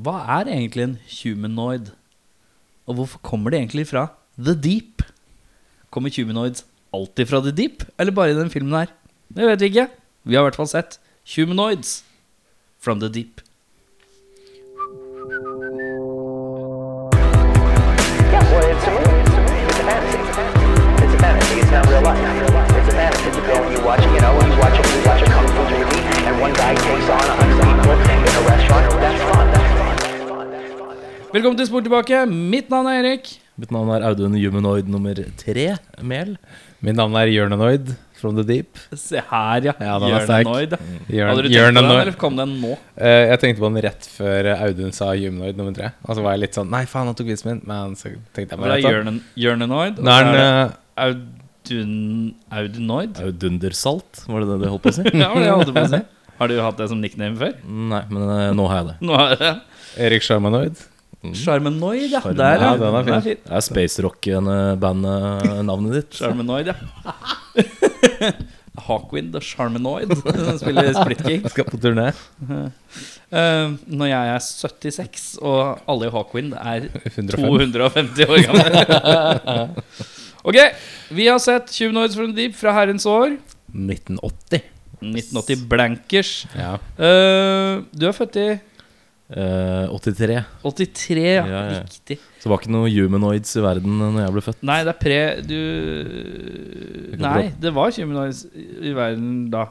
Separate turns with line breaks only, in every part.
Hva er egentlig en humanoid? Og hvorfor kommer de egentlig fra The Deep? Kommer humanoids alltid fra The Deep, eller bare i den filmen her? Det vet vi ikke. Vi har i hvert fall sett Humanoids from The Deep.
Yeah, well, it's a movie. It's a movie. It's a fantasy. It's a fantasy. It's not real life. It's a fantasy. It's a film you watch. You know, you watch a you watch a kung fu movie, and one guy takes on a hundred people in a restaurant. That's fun. That's fun. That's fun. That's fun.
Velkommen til Spor tilbake. Mitt navn er Erik.
Mitt navn er Audun Humanoid nummer tre, Mel.
Mitt navn er Hjørnenoid from the deep.
Se her, ja.
Ja, den er sterk.
Hjørnenoid.
Hjørn-
Hadde du tenkt på den,
Hjørnenoid.
eller kom den nå?
Eh, jeg tenkte på den rett før Audun sa Humanoid nummer tre. Og så var jeg litt sånn Nei, faen, han tok vitsen min. Men så tenkte jeg
Hvor er
meg rett opp.
hjørnen- Hjørnenoid? og
Nå
så
er den
er det
eh,
Audun... Audinoid?
Audundersalt, var det det du holdt på å si?
Ja, det var det jeg holdt på å si. Har du hatt det som nickname før?
Nei, men eh, nå har jeg det.
Nå er det
Erik Sjarmanoid.
Mm. Charmenoid, ja.
Charmenoid.
Der,
Ja, den er fin.
fin.
Det er spacerock-bandet-navnet ditt.
Charmenoid, ja. Hawkwind og Charmenoid som spiller split kick.
Jeg skal på turné.
Eh, når jeg er 76, og alle i Hawkwind er
105.
250 år gamle. ok, vi har sett 20 Noids from the Deep fra herrens år.
1980.
1980 Blankers.
Ja.
Eh, du er født i
Eh, 83.
83, ja.
Ja, ja.
Riktig.
Så det var ikke noe humanoids i verden når jeg ble født.
Nei, det er pre... Du
Jeg kan
Nei, det var 20 Noids i verden da.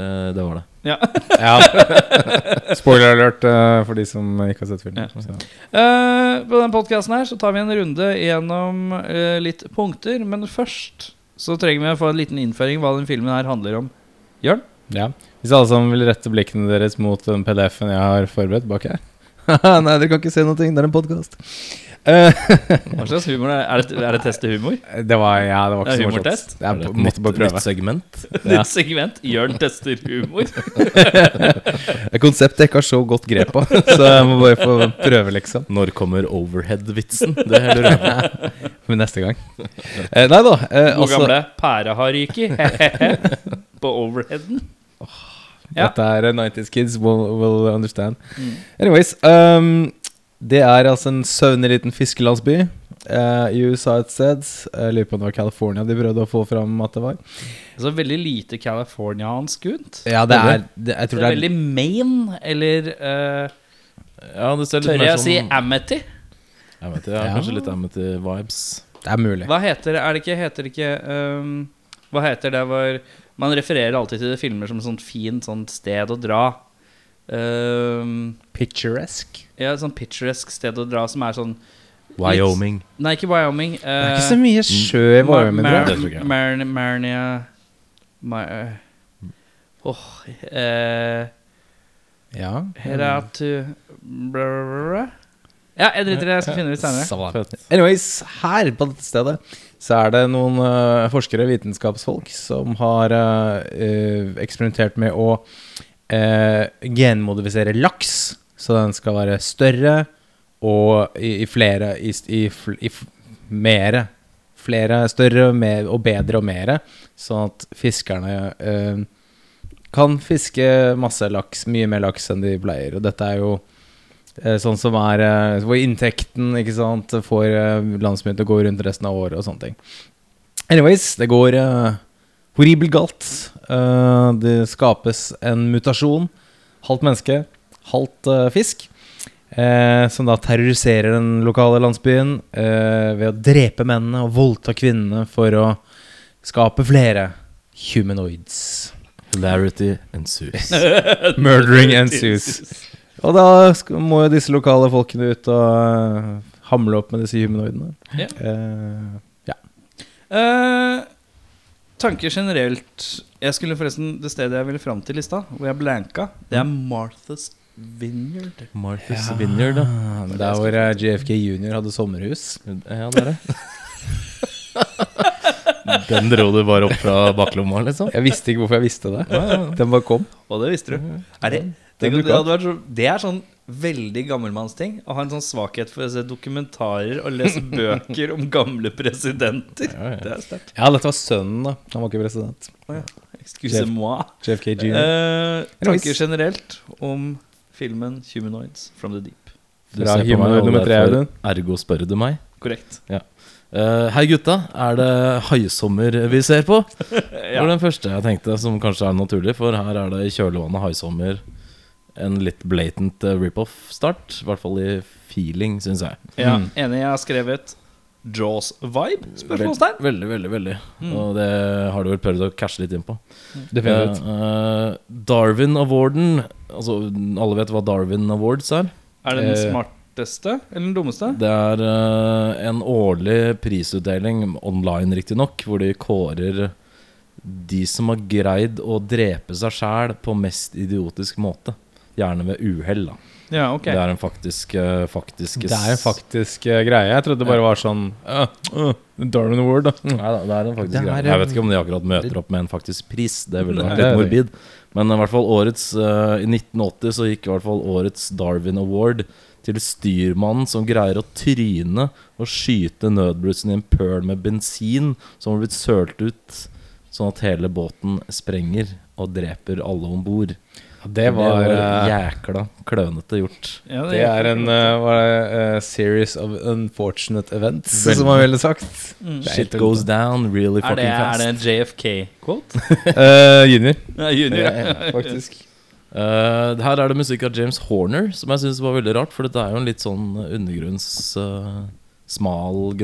Eh, det var det.
Ja.
ja. Spoiler alert eh, for de som ikke har sett
Ja.
filmen. Så.
Eh, på den podkasten her så tar vi en runde gjennom eh, litt punkter, men først så trenger vi å få en liten innføring hva den filmen her handler om. Jørn?
Ja. Hvis alle sammen vil rette blikkene deres mot den PDF-en jeg har forberedt bak her Nei, dere kan ikke se noe. Det er en Eh, podkast.
Hva slags humor er er det? Er det test til humor?
Eh, det var Ja, det var
Det
ikke
er
så
humortest.
morsomt. Det er,
Var det et
måtte bare
nytt, nytt
prøve.
segment.
Nytt segment. Jørn tester humor.
Et konsept jeg ikke har så godt grep på, så jeg må bare få prøve, liksom.
Når kommer overhead-vitsen? Det lurer jeg på.
Men neste gang. Eh, nei da. Eh,
Hvor
altså,
gamle pæra har ryket. På overheaden. Ja. Mm.
Dette er eh, 90's kids will, will understand. Anyways. ehm, det er altså en søvnig liten fiskelandsby eh, i USA et sted. Eh, Jeg lurer på om det var California de prøvde å få fram at det var.
Så Altså, veldig lite californiansk ut.
Ja, det er det, Jeg
Det
tror
er
det er
veldig Maine, eller eh,
Ja, det ser litt
tør
mer
jeg å si
sånn-
Amity?
Jeg vet det, ja.
Ja.
Kanskje litt Amity-vibes.
Det er mulig.
Hva heter Er det ikke Heter det ikke ehm, Hva heter det hvor Man refererer alltid til filmer som et sånt fint sånt sted å dra. Ehm,
Picturesque.
ja, et sånt picturesk sted å dra som er sånn
Wyoming.
Nei, ikke Wyoming. Uh,
Det er ikke så mye sjø i Wyoming. tror jeg.
Det tror jeg.
Marnia Mar- eh, Åh eh,
Ja.
Heratu brr- Ja, jeg driter i det. Jeg skal finne det ut senere.
Fett.
Anyways, her på dette stedet så er det noen eh, forskere, vitenskapsfolk, som har eh, eh, eksperimentert med å eh, genmodifisere laks, så den skal være større og i, i flere i, st- i, fl- i f- mere. Flere større og mer, og bedre og mere, sånn at fiskerne eh, kan fiske masse laks, mye mer laks enn de pleier. Og dette er jo Eh, Sånn som er eh, Hvor inntekten ikke sant, får eh, landsmøtet til å gå rundt resten av året og sånne ting. Anyways, det går eh, horribelt galt. Eh, det skapes en mutasjon. Halvt menneske, halvt eh, fisk. Eh, som da terroriserer den lokale landsbyen eh, ved å drepe mennene og voldta kvinnene for å skape flere humanoids.
Hilarity ensues.
Murdering ensues. Og da sk- må jo disse lokale folkene ut og øh, hamle opp med disse humanoidene.
Ja.
Eh, ja.
Eh, tanker generelt Jeg skulle forresten Det stedet jeg ville fram til i stad, hvor jeg blanka, det er Martha's Vineyard.
Martha's Vineyard, da.
Ah, Der hvor eh, JFK jr. hadde sommerhus.
Ja, det er det. Den dro du bare opp fra baklomma, liksom?
Jeg visste ikke hvorfor jeg visste det. Den bare kom.
Og det visste du. Er det, Mhm. tenk, om det, hadde vært så, det er sånn veldig gammelmannsting å ha en sånn svakhet for å se dokumentarer og lese bøker om gamle presidenter.
Ja, ja.
Det er sterkt.
Ja, dette var sønnen, da. Han var ikke president.
Excuse moi.
JFK jr.
Eh, tanker generelt om filmen 'Humanoids from the Deep'.
Du
Fra
ser på meg,
humanoid
og
nummer tre,
derfor-
Audun.
Ergo spør du meg.
Korrekt.
Eh, hei gutta, er det haisommer vi ser på? Det var den første jeg tenkte, som kanskje er naturlig, for her er det i kjølvannet haisommer. En litt blatant eh, rip-off-start, i hvert fall i feeling, syns jeg.
Ja, Enig. Jeg har skrevet Jaws-vibe? Spørsmålstegn. Mm.
Veldig, veldig, veldig. Og det har du vel prøvd å cashe litt inn på.
Definitivt.
Eh, eh, Darwin Award-en Altså, alle vet hva Darwin Awards er?
Er det den
Eh.
smarteste eller den dummeste?
Det er eh, en årlig prisutdeling, online riktignok, hvor de kårer de som har greid å drepe seg sjæl på mest idiotisk måte. Gjerne ved uhell, da.
Ja, ok
Det er en faktisk, eh, faktisk
Det er en faktisk eh, greie. Jeg trodde det bare var sånn uh, uh, Darwin Award, da.
Nei,
Mm.
da, det er en faktisk
Det er,
greie. Jeg vet ikke om de akkurat møter opp med en faktisk pris. Det ville vært
Nei.
litt morbid. Men i hvert fall årets eh, I 1980 så gikk i hvert fall årets Darwin Award til styrmannen som greier å tryne og skyte nødblussen i en pøl med bensin som har blitt sølt ut, sånn at hele båten sprenger og dreper alle om bord.
Det var eh,
jækla klønete gjort.
Ja,
Det er en eh, hva er det, eh, series of unfortunate events, som man ville sagt. Det er
Shit
helt
goes
ute.
down really
Mm. er
fucking
det, er
fast.
det en JFK-quote?
Eh, junior,
Junior. ja.
faktisk.
Eh, her er det musikk av James Horner, som jeg syns var veldig rart. For dette er jo en litt sånn undergrunns eh, smal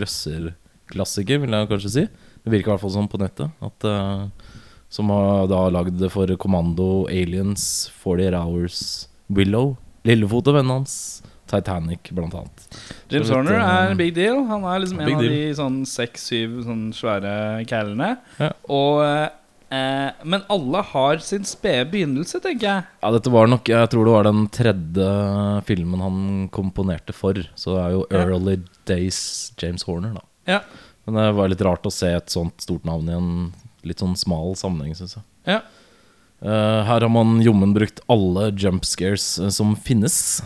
grøsserklassiker, vil jeg kanskje si. Det virker i hvert fall sånn på nettet. At, eh, som har da lagd det for Kommando, Aliens, 48 Hours, Willow, Lillefot og vennene hans, Titanic blant annet.
James
Så litt,
Horner er
eh,
en big deal. Han er liksom en
big
av
deal.
de sånn seks-syv sånn svære kælene.
Ja.
Og eh, Men alle har sin spede begynnelse, tenker jeg.
Ja, dette var nok Jeg tror det var den tredje filmen han komponerte for. Så det er jo
Ja.
Early Days James Horner, da.
Ja,
Men det var litt rart å se et sånt stort navn i en litt sånn smal sammenheng, syns jeg.
ja.
Eh, her har man jommen brukt alle jump scares eh, som finnes.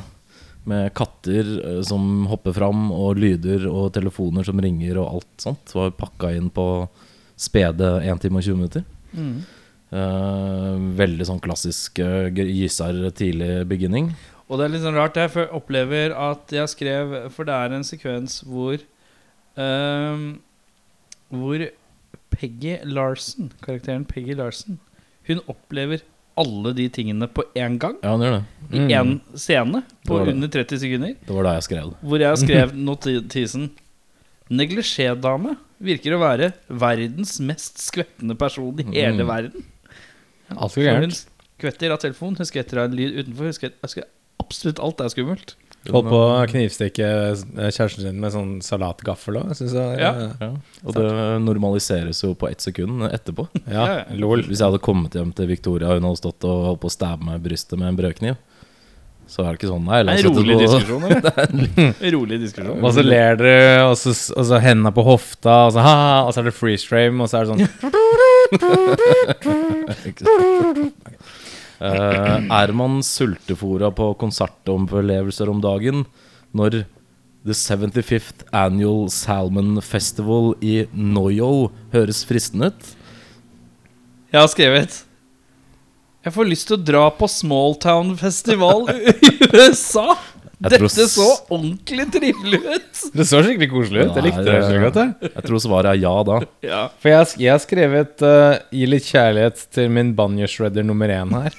Med katter eh, som hopper fram, og lyder og telefoner som ringer og alt sånt. Var pakka inn på spede 1 time og 20 minutter.
Mm.
Eh, veldig sånn klassisk uh, gyser tidlig beginning.
Og det er litt sånn rart. Jeg fø- opplever at jeg skrev For det er en sekvens hvor ehm, Hvor Peggy Larsen, karakteren Peggy Larsen, hun opplever alle de tingene på én gang.
Ja, han gjør det.
I
Mm.
én scene på
Det Mm. var det.
under 30 sekunder.
Det var da jeg skrev det.
Hvor jeg skrev notisen Neglisjé-dame virker å være verdens mest skvettende person i hele
Mm.
verden.
Alt
For
går
Hun
gærent.
skvetter av telefon, hun skvetter av en lyd utenfor. Hun skvetter, jeg skvetter- absolutt alt er skummelt.
Holdt på å knivstikke eh, kjæresten sin med sånn salatgaffel òg.
Ja.
Ja, og det normaliseres jo på ett sekund etterpå.
ja.
Ja, ja.
Lol.
Hvis jeg hadde kommet hjem til Victoria og hun hadde stått og holdt på å stabbe meg i brystet med en brødkniv, så er det ikke sånn. Nei, la
Det
oss
er en
sette
rolig
på-
diskusjon, eller? En rolig diskusjon.
Og så ler dere, og så, og så hendene på hofta, og så, ha, ha, og så er det freeze frame, og så er det sånn
Eh, er man sultefora på konsertoverlevelser om dagen når The 75th Annual Salmon Festival i Noyo høres fristende ut?
Jeg har skrevet Jeg får lyst til å dra på Smalltown-festival i USA!
Jeg tror
Dette
s-
så ordentlig trivelig ut!
Det så skikkelig koselig ut. Jeg likte det så godt. jeg.
Jeg tror svaret er ja da.
Ja.
For jeg, har sk- jeg har skrevet eh, 'Gi litt kjærlighet til min banjo-shredder nummer én' her.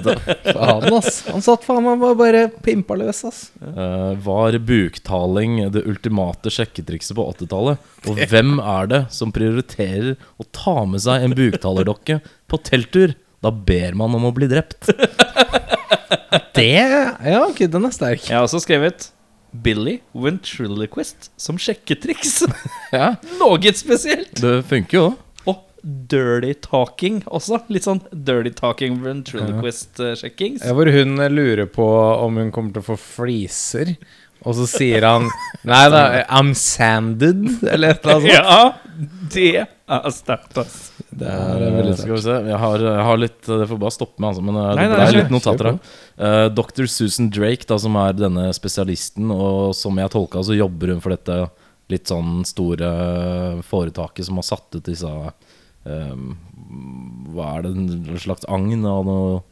faen, ass. Han satt faen meg bare, bare pimpa løs, ass.
Eh, var buktaling det ultimate sjekketrikset på 80-tallet? Og hvem er det som prioriterer å ta med seg en buktalerdokke på telttur? Da ber man om å bli drept.
Det Ja, ok, den er sterk.
Jeg har også skrevet Billy Ventriloquist som sjekketriks.
Ja.
Noe spesielt.
Det funker jo.
Og dirty talking også. Litt sånn dirty talking eh, ventriloquist-sjekking.
Ja, Hvor hun lurer på om hun kommer til å få fliser, og så sier han Nei da, I'm sanded, eller et eller annet sånt.
Ja, det er sterkt, ass.
Det er veldig sterkt.
Eh, Skal vi se. Jeg har, jeg har litt Det får bare stoppe meg, altså. Men eh,
Nei,
det
nei,
er
kjør.
litt notater
Kjør
her. Eh, Dr. Susan Drake, da, som er denne spesialisten, og som jeg tolka, så jobber hun for dette litt sånn store eh, foretaket som har satt ut disse eh, Hva er det, en slags agn av noe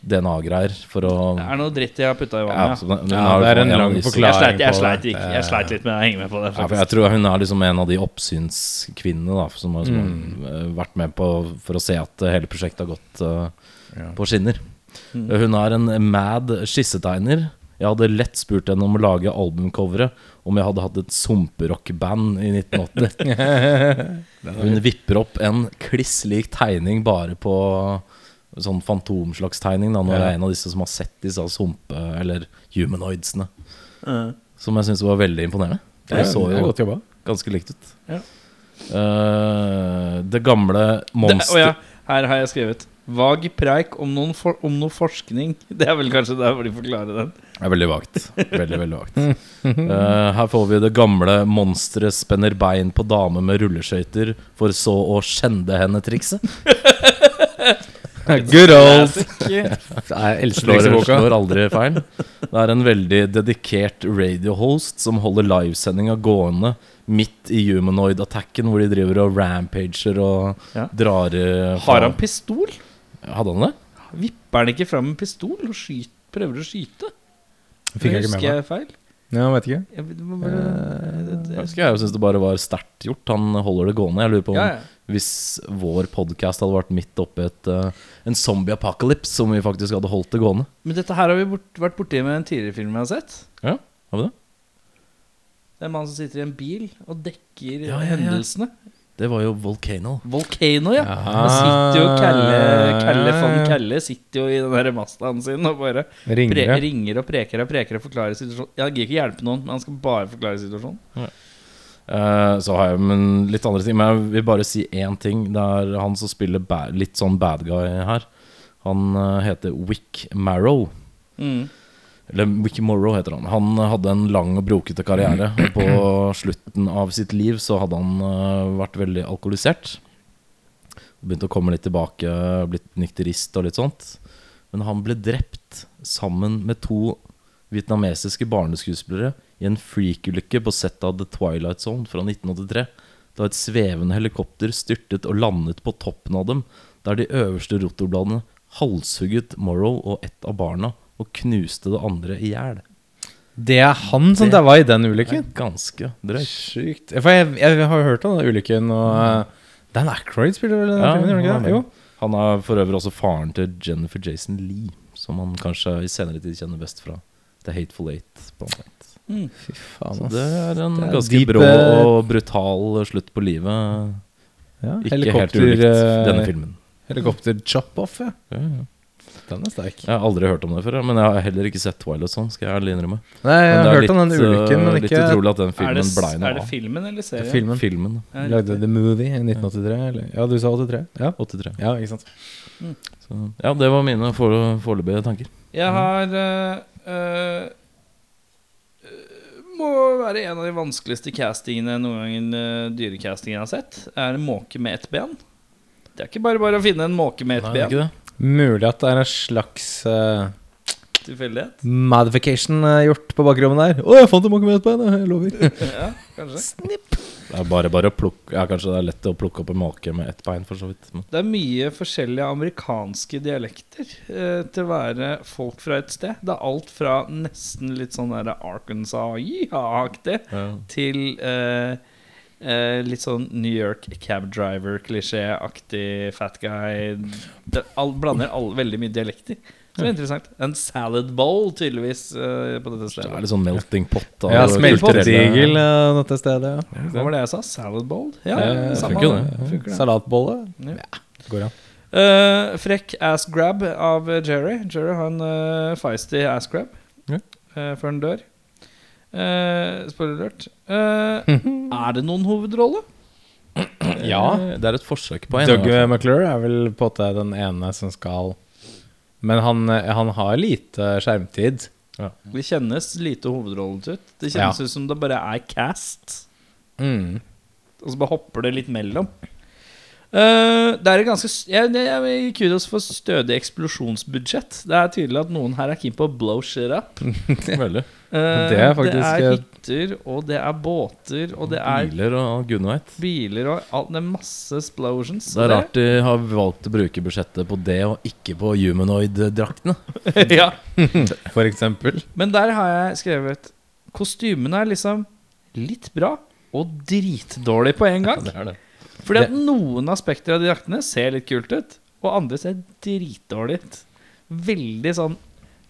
DNA-greier for å
Det er noe dritt jeg har putta i
Ja,
vannet.
så
Ja,
hun- hun
Ja,
har jo
det er en
fått
lang
analyse.
forklaring.
jeg sleit, jeg,
på
sleit,
det.
ikke, jeg sleit litt med å henge med på det.
Ja, for jeg
Faktisk.
tror hun er liksom en av de oppsynskvinnene da, som har liksom,
Mm.
eh, vært med på for å se at eh, hele prosjektet har gått eh,
Ja. Mm.
på skinner. Eh, Hun er en mad skissetegner. Jeg hadde lett spurt henne om å lage albumcoveret om jeg hadde hatt et sumperockband i 1980. Hun vipper opp en kliss lik tegning bare på sånn fantomslagstegning. da, Når jeg er en av disse som har sett disse sumpe- eller humanoidsene. Som jeg syns var veldig imponerende.
Det
Det
er,
så
det er
jo
godt jobba.
ganske likt ut.
Ja.
Eh, det gamle
Det,
monster...
og ja, her har jeg skrevet Vag preik om, noen for, om noe forskning. Det er vel kanskje der hvor de forklarer den.
Det er veldig vagt. Veldig, veldig vagt. Eh, her får vi det gamle monsteret spenner bein på dame med rulleskøyter for så å skjende henne-trikset.
Good old!
Jeg
elsker disse boka.
Slår aldri feil. Det er en veldig dedikert radiohost som holder livesendinga gående midt i humanoid-attacken, hvor de driver og rampager og
Ja.
drar eh,
Har han pistol?
Hadde han det?
Vipper han ikke fram en pistol og skyt, prøver å skyte?
Fikk jeg ikke
Husker
med meg.
jeg feil?
Ja, vet ikke.
Jeg, vet- hva var det- det-
Eh, Jeg
det-
husker jeg syns det bare var sterkt gjort. Han holder det gående. Jeg lurer på om
Ja, ja.
Hvis vår podkast hadde vært midt oppi et, eh, en zombie apocalypse, som vi faktisk hadde holdt det gående.
Men dette her har vi bort, vært borti med en tidligere film jeg har sett.
Ja, har vi Det
Det er en mann som sitter i en bil og dekker
Ja, ja, ja.
hendelsene.
Det var jo Volcano.
Volcano, ja.
Aha.
Han sitter jo Kalle, Kalle
Ja, ja,
von
ja.
Kalle sitter jo i den der Mazdaen sin og bare pre
Ringere.
ringer og preker og preker og forklarer situasjonen. Jeg gir ikke hjelpe noen, men han skal bare forklare situasjonen.
Eh, så har jeg men litt andre ting. Men jeg vil bare si én ting. Det er han som spiller ba litt sånn bad guy her. Han eh, heter Wick Marrow.
Mm.
Eller Wicky Morrow heter han. Han hadde en lang og brokete karriere. Og på slutten av sitt liv så hadde han eh, vært veldig alkoholisert. Begynte å komme litt tilbake, blitt nykterist og litt sånt. Men han ble drept sammen med to vietnamesiske barneskuespillere i en freak-ulykke på settet av The Twilight Zone fra 1983. Da et svevende helikopter styrtet og landet på toppen av dem, der de øverste rotorbladene halshugget Morrow og ett av barna og knuste det andre i hjel.
Det er han som
Det-
daua i den
Det er
ulykken.
ganske drøyt.
Sykt. For jeg, jeg har jo hørt om den ulykken, og eh, Dan Ackroyd spiller vel den
Mm. Ja,
filmen, gjør
han
han ikke det?
er
Jo.
med. Han er for øvrig også faren til Jennifer Jason Lee, som han kanskje i senere tid kjenner best fra The Hateful Eight. Blant annet.
Fy faen,
Så
ass.
det er en
Altså, Det er
ganske
deep,
brå
eh,
og brutal slutt på livet.
Ja,
Ikke helt ulikt denne filmen.
Helikopter-chop-off, eh, ja.
Ja, ja.
Den er sterk.
Jeg har aldri hørt om det før, ja, men jeg har heller ikke sett Twilight sånn. skal jeg ærlig innrømme
Nei,
Men
jeg har
det er
hørt om den
litt,
ulykken,
eh,
men
Litt
ikke
utrolig at den
Er, det,
filmen blei
s-
noe
er det
av.
filmen eller serien?
filmen.
Filmen.
Ja,
Lagde The Movie i 1983, eller? Ja, du sa 83? Ja.
83.
ja, ikke sant.
Så, ja, det var mine for- foreløpige tanker.
Jeg har eh, eh, Må være en av de vanskeligste castingene noen gang eh, dyrecastingen jeg har sett. Er en måke med ett ben. Det er ikke bare bare å finne en måke med ett
Nei,
ben.
ikke det?
Mulig at det er en slags eh,
Tilfeldighet.
modification eh, gjort på bakrommet der. Å, jeg fant en makomet på henne! Jeg lover.
Ja, kanskje.
Det er bare, bare å plukke Ja, kanskje det er lett å plukke opp en måke med ett bein, for så vidt. Men
Det er mye forskjellige amerikanske dialekter eh, til å være folk fra et sted. Det er alt fra nesten litt sånn der Arkansas-aktig til eh, eh, litt sånn New York cab driver-klisjé-aktig fat guy. Det all, blander all, veldig mye dialekter. Så det er interessant. En salad bowl, tydeligvis, eh, på dette
det er
stedet.
litt sånn melting pot. av
Ja,
kulturelle-
smeltedigel eh, dette stedet. Ja.
Hva var det jeg sa? Salad bowl? Ja,
Eh,
samme
funker jo
det.
det.
Funker det.
Salatbolle.
Ja.
Går an.
Eh, frekk ass grab av eh, Jerry. Jerry har en eh, feisty ass grab
Ja.
eh, før han dør. Uh, Spoiler alert. Eh,
Hm.
er det noen hovedrolle?
Ja.
Eh, Det er et forsøk på en. i
Doug
hvert fall.
McClure er vel på en måte den ene som skal Men han, eh, han har lite skjermtid.
Det kjennes lite hovedrollen ut. Det kjennes ut som det bare er cast,
Mm.
og så bare hopper det litt mellom. Eh, det er et ganske s- jeg, jeg, jeg vil gi Kudos for stødig eksplosjonsbudsjett. Det er tydelig at noen her er keen på å blow shit up.
Veldig.
Eh,
Det er faktisk-
det er hytter, og det er båter, og det er
Biler og gudene veit.
biler og alt. Det er masse explosions.
Det er rart de har valgt å bruke budsjettet på det, og ikke på humanoid-draktene.
ja.
For eksempel.
Men der har jeg skrevet Kostymene er liksom litt bra og dritdårlig på en gang.
Det er det.
Fordi at noen aspekter av de draktene ser litt kult ut, og andre ser dritdårlig ut. Veldig sånn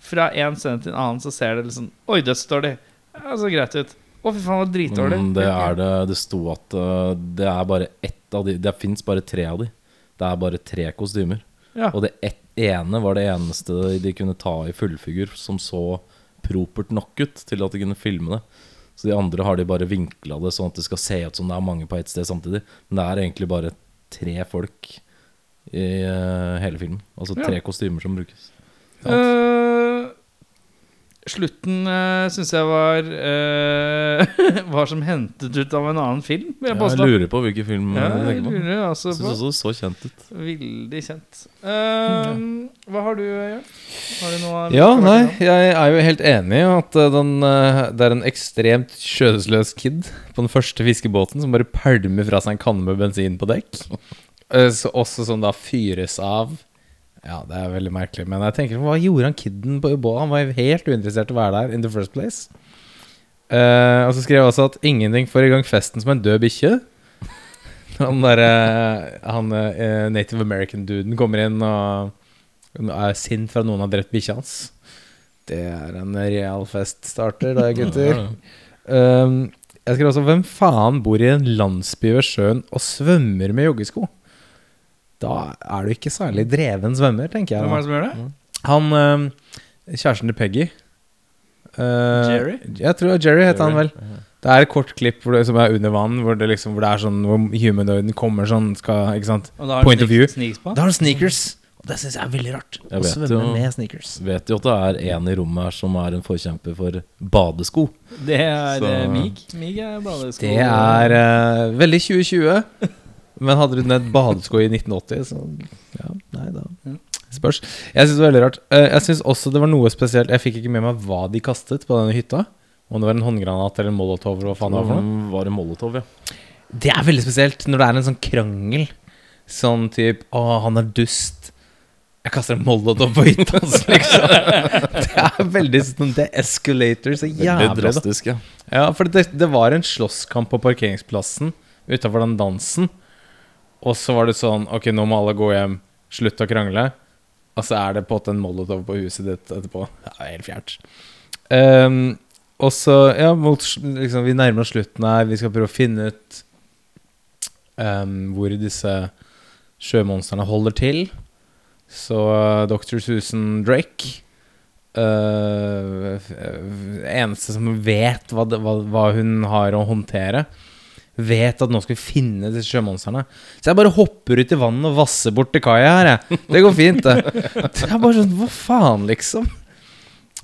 Fra en scene til en annen så ser det liksom Oi, dødsdårlig. Ja, så greit ut. Å, fy faen, det var dritdårlig.
Men Mm, det er det Det sto at uh, det er bare ett av de Det fins bare tre av de. Det er bare tre kostymer.
Ja.
Og det ett, ene var det eneste de kunne ta i fullfigur som så propert nok ut til at de kunne filme det. Så de andre har de bare vinkla det sånn at det skal se ut som det er mange på ett sted samtidig. Men det er egentlig bare tre folk i uh, hele filmen. Altså
Ja.
tre kostymer som brukes.
Eh, slutten uh, syns jeg var eh, Var som hentet ut av en annen film, vil jeg
Jeg
påstå.
lurer på hvilken film eh,
Ja,
du
jeg
tenker på.
lurer altså
Jeg
på.
syns også det så kjent ut.
Veldig kjent. Ehm, Hva har du, Jørn? Har du noe
Ja, nei, jeg er jo helt enig i at eh, den, eh, det er en ekstremt skjødesløs kid på den første fiskebåten som bare pælmer fra seg en kanne med bensin på dekk. Eh, Så også som da fyres av. Ja, det er veldig merkelig, men jeg tenker hva gjorde han kiden på Uboa? Han var jo helt uinteressert i å være der in the first place. Eh, og så skrev jeg også at ingenting får i gang festen som en død bikkje. Han derre Han eh, native american-duden kommer inn og hun er sint for at noen har drept bikkja hans. Det er en real feststarter, det, gutter. Um, jeg skrev også Hvem faen bor i en landsby ved sjøen og svømmer med joggesko? Da er du ikke særlig dreven svømmer, tenker
Hvem er det
jeg.
som gjør det?
da. Han um, kjæresten til Peggy uh,
Jerry?
Jeg tror Jerry heter han
Jerry.
vel. Det er et kort klipp hvor det, som er under vann, hvor det liksom Hvor det er sånn Hvor humanoiden kommer sånn skal, Ikke sant?
Og da har
Point
du
of view.
sneaks på.
Da har han sneakers. Og det syns jeg er veldig rart.
Jeg
å
vet
svømme
jo.
med sneakers.
Vet jo at det er en i rommet her som er en forkjemper for badesko.
Det er
Så-
eh, Mig. Mig er badesko.
Det er eh, veldig 2020. Men hadde du ned badesko i 1980, så ja, nei da.
Ja.
Spørs. Jeg syns det var veldig rart. Eh, jeg syns også det var noe spesielt Jeg fikk ikke med meg hva de kastet på denne hytta. Om det var en håndgranat eller en molotov eller hva faen det var for noe.
Han var i Molotov, ja.
Det er veldig spesielt når det er en sånn krangel. Sånn type Å, han er dust. Jeg kaster en molotov på hytta hans, liksom. Det er veldig sånn Det escalator så
Veldig
jævlig, da.
drastisk, ja.
Ja, for det, det var en slåsskamp på parkeringsplassen utafor den dansen. Og så var det sånn Ok, nå må alle gå hjem. Slutt å krangle. Og så er det på en måte en molotov på huset ditt etterpå. Det er helt fjernt. Ehm, og så, ja, mot, sl- liksom, vi nærmer oss slutten her. Vi skal prøve å finne ut ehm, hvor disse sjømonstrene holder til. Så eh, Dr. Susan Drake eh, f- eh, eneste som vet hva, det, hva, hva hun har å håndtere, vet at nå skal vi finne disse sjømonstrene. Så jeg bare hopper ut i vannet og vasser bort til kaia her, jeg. Det går fint, det. Det er bare sånn Hva faen, liksom?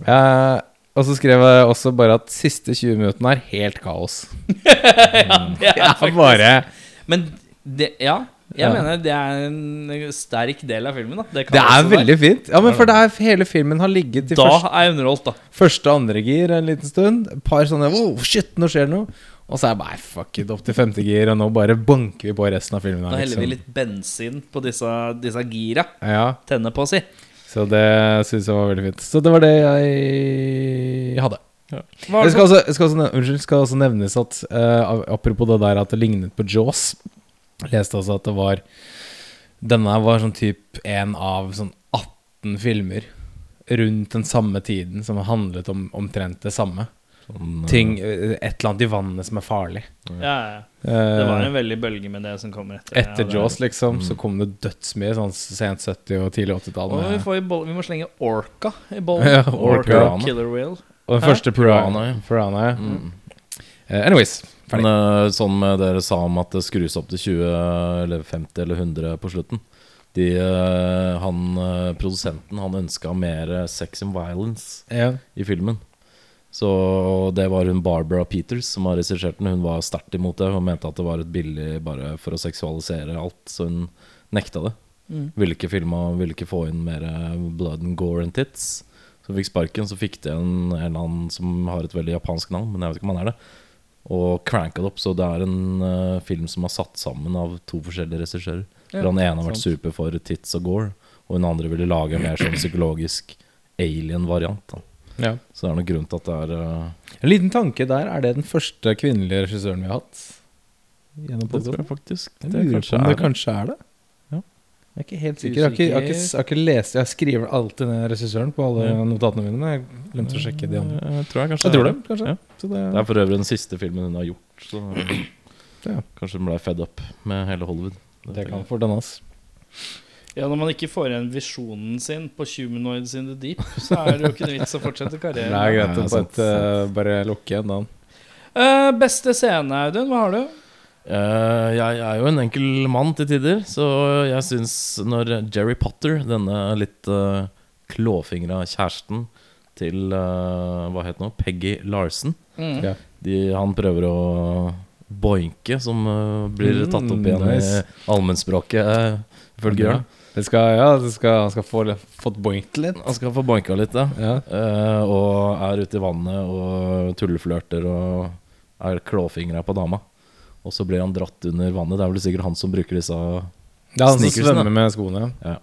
Eh, og så skrev jeg også bare at siste 20 minuttene er helt kaos.
det er
Det er
faktisk-
bare
Men det, ja, jeg
Ja.
mener det er en sterk del av filmen. Da. Det, kan
Det er
også være.
veldig fint. Ja, men for det er, hele filmen har ligget i
Da
første
er jeg underholdt, da.
Første og andre gir en liten stund. Et par sånne Wow, shit, nå skjer det noe. Og så er jeg bare "Nei, fuck it, opp til femte gir, og nå bare banker vi på resten av filmen. her,
Da heller vi
liksom."
litt bensin på disse, disse gira.
Ja,
Tenne på, si.
Så det syns jeg var veldig fint. Så det var det jeg hadde.
Hva
Det
er det
skal også, jeg skal også, nev- unnskyld, skal også nevnes at eh, apropos det der at det lignet på Jaws jeg Leste også at det var Denne var sånn typ en av sånn 18 filmer rundt den samme tiden som handlet om omtrent det samme.
Sånn, eh,
ting, eh, et eller annet i vannet som er farlig.
for- ja, ja.
Eh,
Det var en veldig bølge med det som kommer etter. ja,
etter
det er-
Jaws, liksom, så kom det dødsmye sånn sent 70- og tidlig 80-tall.
Og vi,
med-
får i boll, vi må slenge Orca i bollen.
Ja,
orca.
Orca.
Killer Whale.
Og den
Hæ?
første
Piranha, ja.
Piranha. Piranha ja.
Mm.
Eh, anyways, ferdig.
Men eh, sånn med dere sa om at det skrus opp til 20 eller 50 eller 100 på slutten de, eh, han, eh, Produsenten han ønska mer eh, sex and violence
Ja.
i filmen. Så det var hun Barbara Peters som har regissert den. Hun var sterkt imot det. Hun mente at det var et billig bare for å seksualisere alt, så hun nekta det.
Mm.
Ville ikke filme og ville ikke få inn mer eh, blood and gore and tits. Så hun fikk sparken, så fikk det en, en eller annen som har et veldig japansk navn, men jeg vet ikke om han er det. Og cranka det opp, så det er en eh, film som er satt sammen av to forskjellige regissører.
Ja,
Hvor han ene har vært
sant.
super for tits og gore, og hun andre ville lage en mer sånn psykologisk alien-variant. da
Ja.
så det er noen grunn til at det er eh,
En liten tanke der. Er det den første kvinnelige regissøren vi har hatt? Gjennom
Det tror
podcasten?
jeg faktisk.
Jeg
Det
lurer
kanskje
på om det
er det.
kanskje er det.
Ja.
Jeg er ikke helt sikker. Jeg har ikke, jeg har ikke, jeg har ikke lest Jeg skriver alltid ned regissøren på alle
Ja.
notatene mine. men Jeg glemte å sjekke de andre.
Eh, Jeg tror jeg kanskje
Jeg tror det,
er
kanskje.
Ja.
Så det,
Det er for øvrig den siste filmen hun har gjort, så
Ja.
kanskje hun ble fed up med hele Hollywood.
det kan for denne, ass.
Ja, Når man ikke får igjen visjonen sin på Humanoids in the Deep, så er det jo ikke noe vits å fortsette
Det
karrieren.
er
Ja,
greit å
sant,
bare, eh, bare lukke igjen da.
Eh, beste scene, Audun? Hva har du?
Eh, jeg er jo en enkel mann til tider, så jeg syns når Jerry Potter, denne litt uh, klåfingra kjæresten til eh, Hva het den nå? Peggy Larsen.
Mm.
Ja.
De, han prøver å boinke, som eh, blir
Mm,
tatt opp igjen
nice.
i allmennspråket, uh, ifølge Jørn.
Det skal, ja, det skal, han skal få fått boink litt.
Han skal få boinka litt, ja.
Ja.
Eh, og er ute i vannet og tulleflørter og er klåfingra på dama. Og så blir han dratt under vannet. Det er vel sikkert han som bruker disse.
Det er han som
Sneakersen, da.
svømmer med skoene.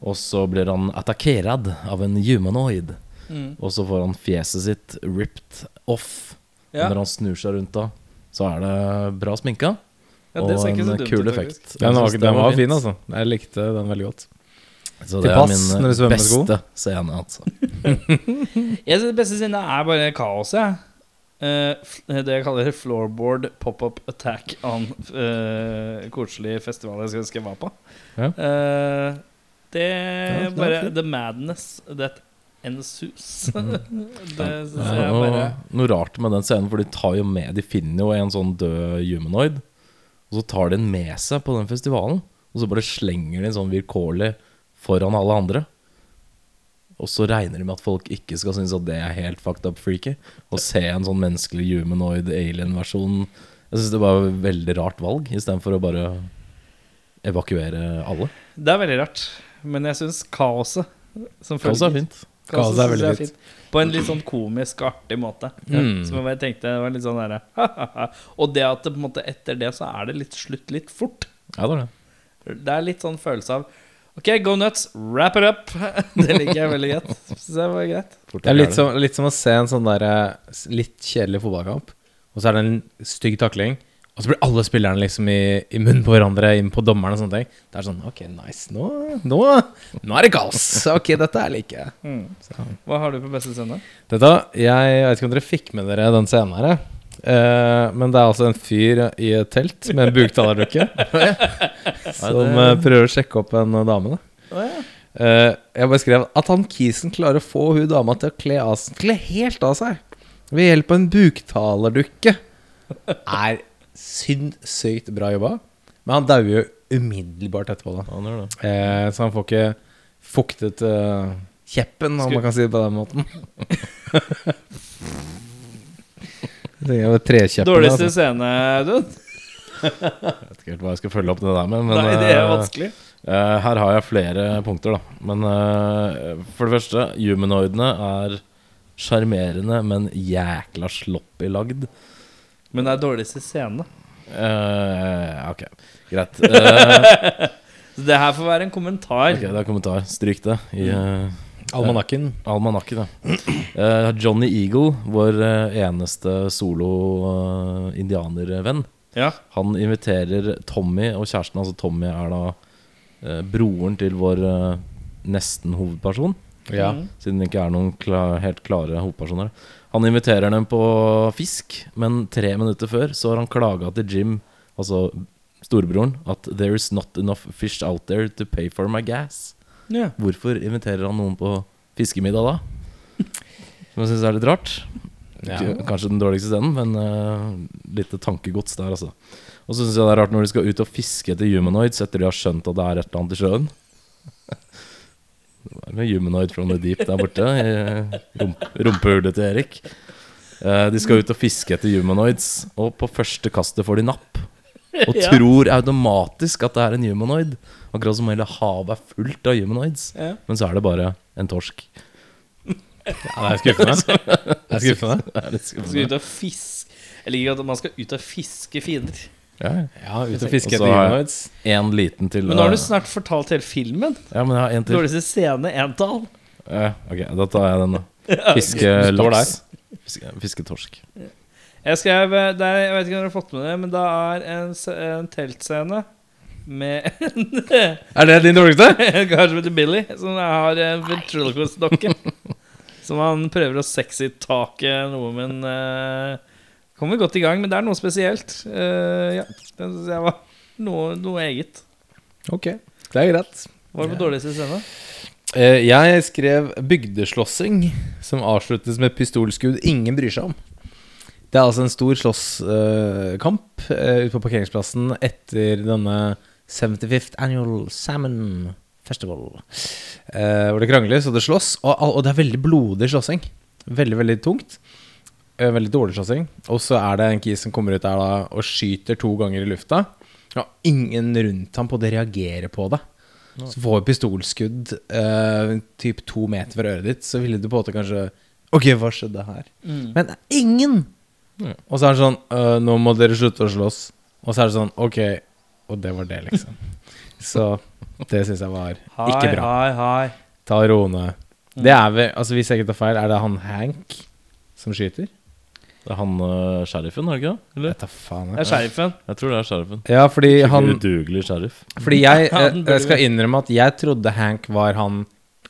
Og så blir han attackert av en humanoid.
Mm.
Og så får han fjeset sitt ripped off.
Ja.
Og Når han snur seg rundt da, så er det bra sminka.
Ja, det
og
ser ikke så
en
dumt
kul
ut, faktisk.
effekt. Jeg
Den var,
synes det
den var fin,
fint.
altså. Jeg likte den veldig godt.
Så det er
Tilpass når du
min
svømmer med sko.
beste scene, altså.
Jeg synes Det beste sinnet er bare kaoset. jeg. Eh, f- det jeg kaller floorboard pop-up attack on eh, koselig festival jeg skulle ønske jeg var på.
Ja.
Eh, det er
Ja, det var
bare
fint.
The madness that ensues. det syns
Det
jeg
er noe,
bare
noe rart med den scenen, for de tar jo med De finner jo en sånn død humanoid, og så tar de den med seg på den festivalen. Og så bare slenger de en sånn vilkårlig foran alle andre. Og så regner de med at folk ikke skal synes at det er helt fucked up freaky. Å se en sånn menneskelig humanoid alien-versjon Jeg syns det var et veldig rart valg, istedenfor å bare evakuere alle.
Det er veldig rart. Men jeg syns kaoset som
Det også er fint.
Kaoset er
synes
veldig
jeg
fint.
På en litt sånn komisk, artig måte.
Mm.
Som jeg bare tenkte var litt sånn derre Og det at det på en måte etter det så er det litt slutt litt fort.
Ja, det er det.
Det er litt sånn følelse av OK, go nuts, wrap it up. Det liker jeg veldig godt. Synes jeg var greit.
Fort
Det er
og
litt
gærent.
som, litt som å se en sånn der, eh, s- litt kjedelig fotballkamp, og så er det en stygg takling, og så blir alle spillerne liksom i, i munnen på hverandre, inn på dommeren og sånne ting. Det er sånn OK, nice. Nå, nå, nå er det kaos. OK, dette er like.
Hva har du på beste scene?
Dette, jeg vet ikke om dere fikk med dere den scenen her, jeg. Eh, men det er altså en fyr i et telt med en buktalerdukke som eh, prøver å sjekke opp en eh, dame. da Eh, jeg bare skrev at han kisen klarer å få hun dama til å kle, av, kle helt av seg ved hjelp av en buktalerdukke. Er sinnssykt bra jobba. Men han dauer jo umiddelbart etterpå, da.
Ja, det er det.
Eh, så han får ikke fuktet eh, kjeppen, om
Skulle-
man kan si det på den måten. Det er jo trekjeppen,
Dårligste
altså.
scene, Audun?
Jeg vet ikke helt hva jeg skal følge opp det der med. Men,
Nei, det er
eh,
vanskelig.
Eh, her har jeg flere punkter, da. Men eh, for det første, humanoidene er sjarmerende, men jækla sloppy lagd.
Men det er dårligste scene.
Eh, ok, greit. Eh,
Så det her får være en kommentar.
ok, Det er kommentar. Stryk det i eh,
Almanakken.
almanakken. Ja. Eh, Johnny Eagle, vår eh, eneste eh, solo-indianervenn,
Ja.
han inviterer Tommy og kjæresten. Altså Tommy er da eh, broren til vår eh, nesten hovedperson.
Ja.
Mm.
Siden det ikke er noen kla- helt klare hovedpersoner. Han inviterer dem på fisk, men tre minutter før så har han klaga til Jim, altså storebroren, at 'there is not enough fish out there to pay for my gas'.
Ja.
Hvorfor inviterer han noen på fiskemiddag da? Som jeg syns er litt rart.
Ja.
K- Kanskje den dårligste scenen, men eh, litt tankegods der, altså. Og så syns jeg det er rart når de skal ut og fiske etter humanoids etter de har skjønt at det er et eller annet i sjøen. Det var noe humanoid from the deep der borte i eh, rump rumpehullet til Erik. Eh, de skal ut og fiske etter humanoids, og på første kastet får de napp. Og
Ja.
tror automatisk at det er en humanoid. Akkurat som hele havet er fullt av humanoids.
Ja.
Men så er det bare en torsk.
Ja, det er skuffende. Det er skuffende.
Det er litt
Man skal
skummelt.
ut og fiske Jeg liker at man skal ut og fiske fiender.
Ja, ja.
Ja, ut og fiske
Og så
etter
har jeg-
humanoids.
En liten til.
Men nå har du
eh,
snart fortalt hele filmen.
Ja, men jeg har en til.
Dårligste scene, entall.
Ja, ok, da tar jeg den, da.
Står der.
Fiskelaks. Fiske, fisketorsk.
Jeg skrev eh, det er, Jeg vet ikke om dere har fått med det, men det er en, s- en teltscene med en
Er det din dårligste?
kar som heter Billy, som har en ventriloquist-dokke. Som han prøver å sexy-take noe, men eh, kommer godt i gang. Men det er noe spesielt. Eh, ja, Den synes jeg var noe, noe eget.
Ok, det er greit.
Hva var det på dårligste scene?
Eh, Jeg skrev 'bygdeslåssing', som avsluttes med pistolskudd ingen bryr seg om. Det er altså en stor slåsskamp eh, ute på parkeringsplassen etter denne 75th Annual Salmon Festival. Eh, Hvor det krangles og det slåss, og, og det er veldig blodig slåssing. Veldig, veldig tungt. Eh, Veldig dårlig slåssing. Og så er det en kis som kommer ut der da og skyter to ganger i lufta. Og ingen rundt ham på det reagerer på det. Så får vi pistolskudd eh, typ to meter fra øret ditt, så ville du på en måte kanskje Ok, hva skjedde her?
Mm.
Men ingen!
Ja.
Og så er det sånn «Øh, Nå må dere slutte å slåss. Og så er det sånn Ok, og det var det, liksom. så det syns jeg var ikke bra.
Hei, Mm. hei,
Ta og ro ned. Det er vel Altså, hvis jeg ikke tar feil, er det han Hank som skyter?
Det er han uh, sheriffen, har det ikke det? Eller?
Jeg tar faen,
Det
jeg.
er sheriffen.
Jeg tror det er sheriffen.
Ja, fordi han
Skikkelig udugelig sheriff.
Fordi jeg, eh, jeg,
Han burde
jeg skal
vi-
innrømme at jeg trodde Hank var han,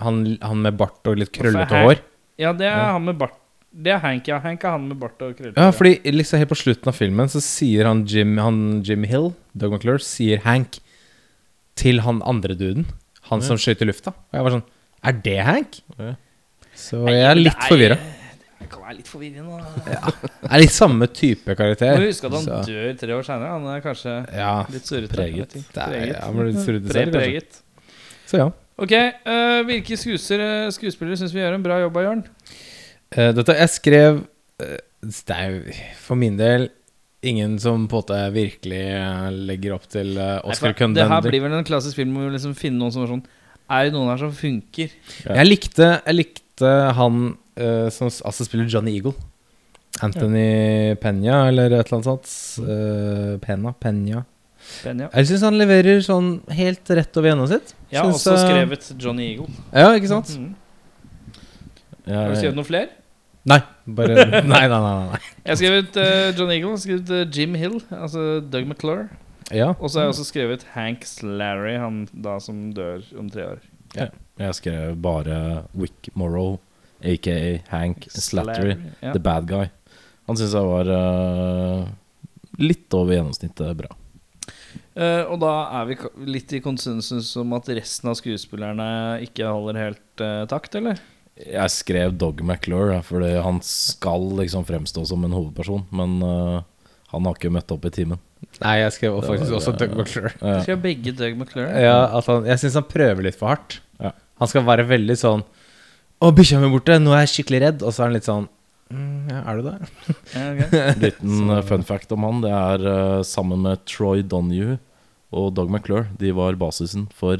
han, han med bart og litt krøllete
Hank?
hår.
Ja, det er han med bart. Det er Hank, ja. Hank er han med bart og krøller.
Ja, fordi liksom helt på slutten av filmen så sier han Jim, han Jim Hill, Doug McClure, sier Hank til han andre duden. Han som skøyt i lufta. Og jeg var sånn Er det Hank?
Ja.
Så jeg er litt forvirra.
Det kan være litt forvirrende. da.
Jeg Er litt samme type karakter.
Må huske at han
så-
dør tre år seinere. Han er kanskje
Ja.
litt surrete.
Preget.
jeg vet ikke.
Det er,
Preget.
ja, men det surrer det selv, kanskje.
Prepreget.
Så ja.
Ok, eh, hvilke skuespillere, skuespillere syns vi gjør en bra jobb av Jørn?
Eh, dette jeg skrev eh, Det er jo for min del ingen som på en måte virkelig eh, legger opp til eh, Oscar
Nei, for Det her
Cundender.
blir vel en klassisk film hvor vi liksom finner noen som er sånn Er det noen her som funker?
Jeg likte, jeg likte han eh, som s- altså spiller Johnny Eagle. Anthony Penya, eller et eller annet sånt. Eh, Pena, Penya.
Den, ja.
Jeg syns han leverer sånn helt rett over gjennomsnitt.
Jeg har
Syns,
også
eh,
skrevet Johnny Eagle.
Ja, ikke sant?
Mm. Har du
Jeg,
skrevet noen flere?
Nei, bare Nei, nei, nei. nei, nei.
Jeg har skrevet eh, John Eagle, jeg har skrevet eh, Jim Hill, altså Doug McClure.
Ja.
Og så har jeg også skrevet Hank Slarry, han da som dør om tre år.
jeg skrev bare Wick Morrow, aka Hank Slattery,
Ja.
the bad guy. Han syns jeg var eh, litt over gjennomsnittet bra.
Eh, og da er vi ka- litt i konsensus om at resten av skuespillerne ikke holder helt eh, takt, eller?
Jeg skrev Dog McClure, ja, fordi han skal liksom fremstå som en hovedperson, men eh, han har ikke møtt opp i timen. Eh,
Nei, jeg skrev faktisk også Doug McClure.
Jeg skrev begge Doug McClure.
Ja, at han, jeg syns han prøver litt for hardt.
Ja.
Han skal være veldig sånn Å, bikkja mi er borte, nå er jeg skikkelig redd. Og så er han litt sånn mm, ja, Er du det?
Ja, ok.
Liten eh, fun fact om han, det er eh, sammen med Troy Donahue og Doug McClure. De var basisen for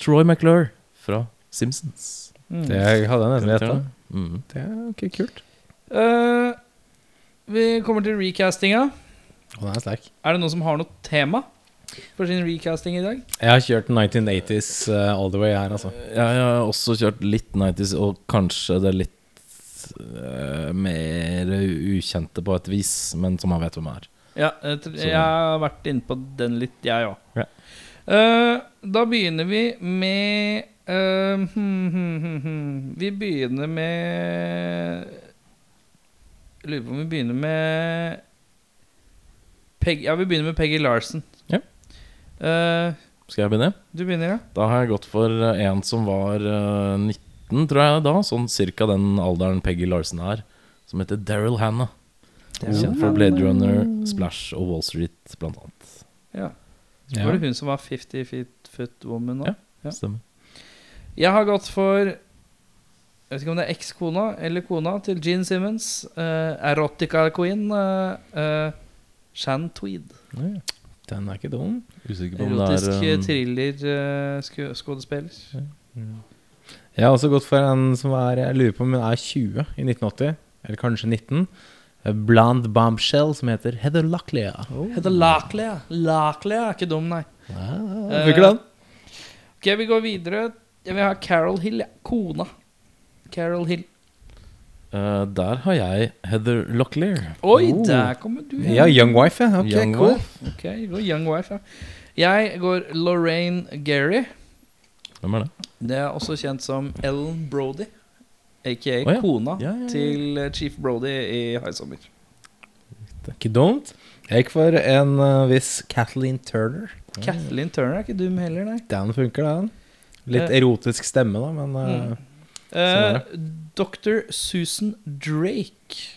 Troy McClure fra Simpsons.
Mm.
Det hadde jeg nesten gjetta.
Mm.
Det er ok, kult.
Eh, vi kommer til recastinga.
Og den er sterk.
Er det noen som har noe tema for sin recasting i dag?
Jeg har kjørt 1980s eh, all the way her, altså.
Jeg har også kjørt litt 90s, og kanskje det litt eh, mer ukjente på et vis, men som man vet hvem er.
Ja, jeg, tr-
Så-
jeg har vært inne på den litt, jeg òg.
Ja.
Eh, da begynner vi med eh, hmm, hmm, hmm, hmm. Vi begynner med Jeg lurer på om vi begynner med Peg, Ja, vi begynner med Peggy Larsen.
Ja.
Eh,
Skal jeg begynne?
du begynner, ja?
Da har jeg gått for eh, en som var eh, 19, tror jeg da. Sånn cirka den alderen Peggy Larsen er. Som heter Daryl Hannah. Kjent for Blade Runner, Splash og Wall Street, blant annet.
ja.
Ja.
Var det hun som var 50 feet foot woman nå?
Stemmer.
Jeg har gått for Jeg vet ikke om det er ekskona eller kona til Gene Simmons. eh, erotica queen eh, eh, Shan Tweed.
Ja, Den er ikke dum.
Usikker på om det er
Erotisk eh,
um,
thriller-skuespiller.
Jeg har også gått for en som er Jeg lurer på om hun er 20 i 1980, eller kanskje 19. A Blonde bombshell som heter Heather Locklear.
Heter Lachley, ja. Lachley er ikke dum, nei.
Hvorfor ikke den?
Ok, vi går videre. Jeg vil ha Carol Hill, ja. Kona. Carol Hill.
eh, Der har jeg Heather Locklear.
Oi, der kommer du.
Ja, Young Wife, ja. Ok,
Young
cool.
Wife.
Ok, vi går Young Wife, ja. Jeg går Lorraine Gary.
Hvem er det?
Det er også kjent som Ellen Brody, aka
Å, ja.
kona
Ja, ja, ja.
til eh, Chief Brody i High Summer.
Det er ikke dumt. Jeg gikk for en eh, viss Kathleen Turner.
Kathleen Turner er ikke dum heller, nei.
Den funker, den. Litt
Eh.
erotisk stemme, da, men eh, Sånn er
Eh, Dr. Susan Drake.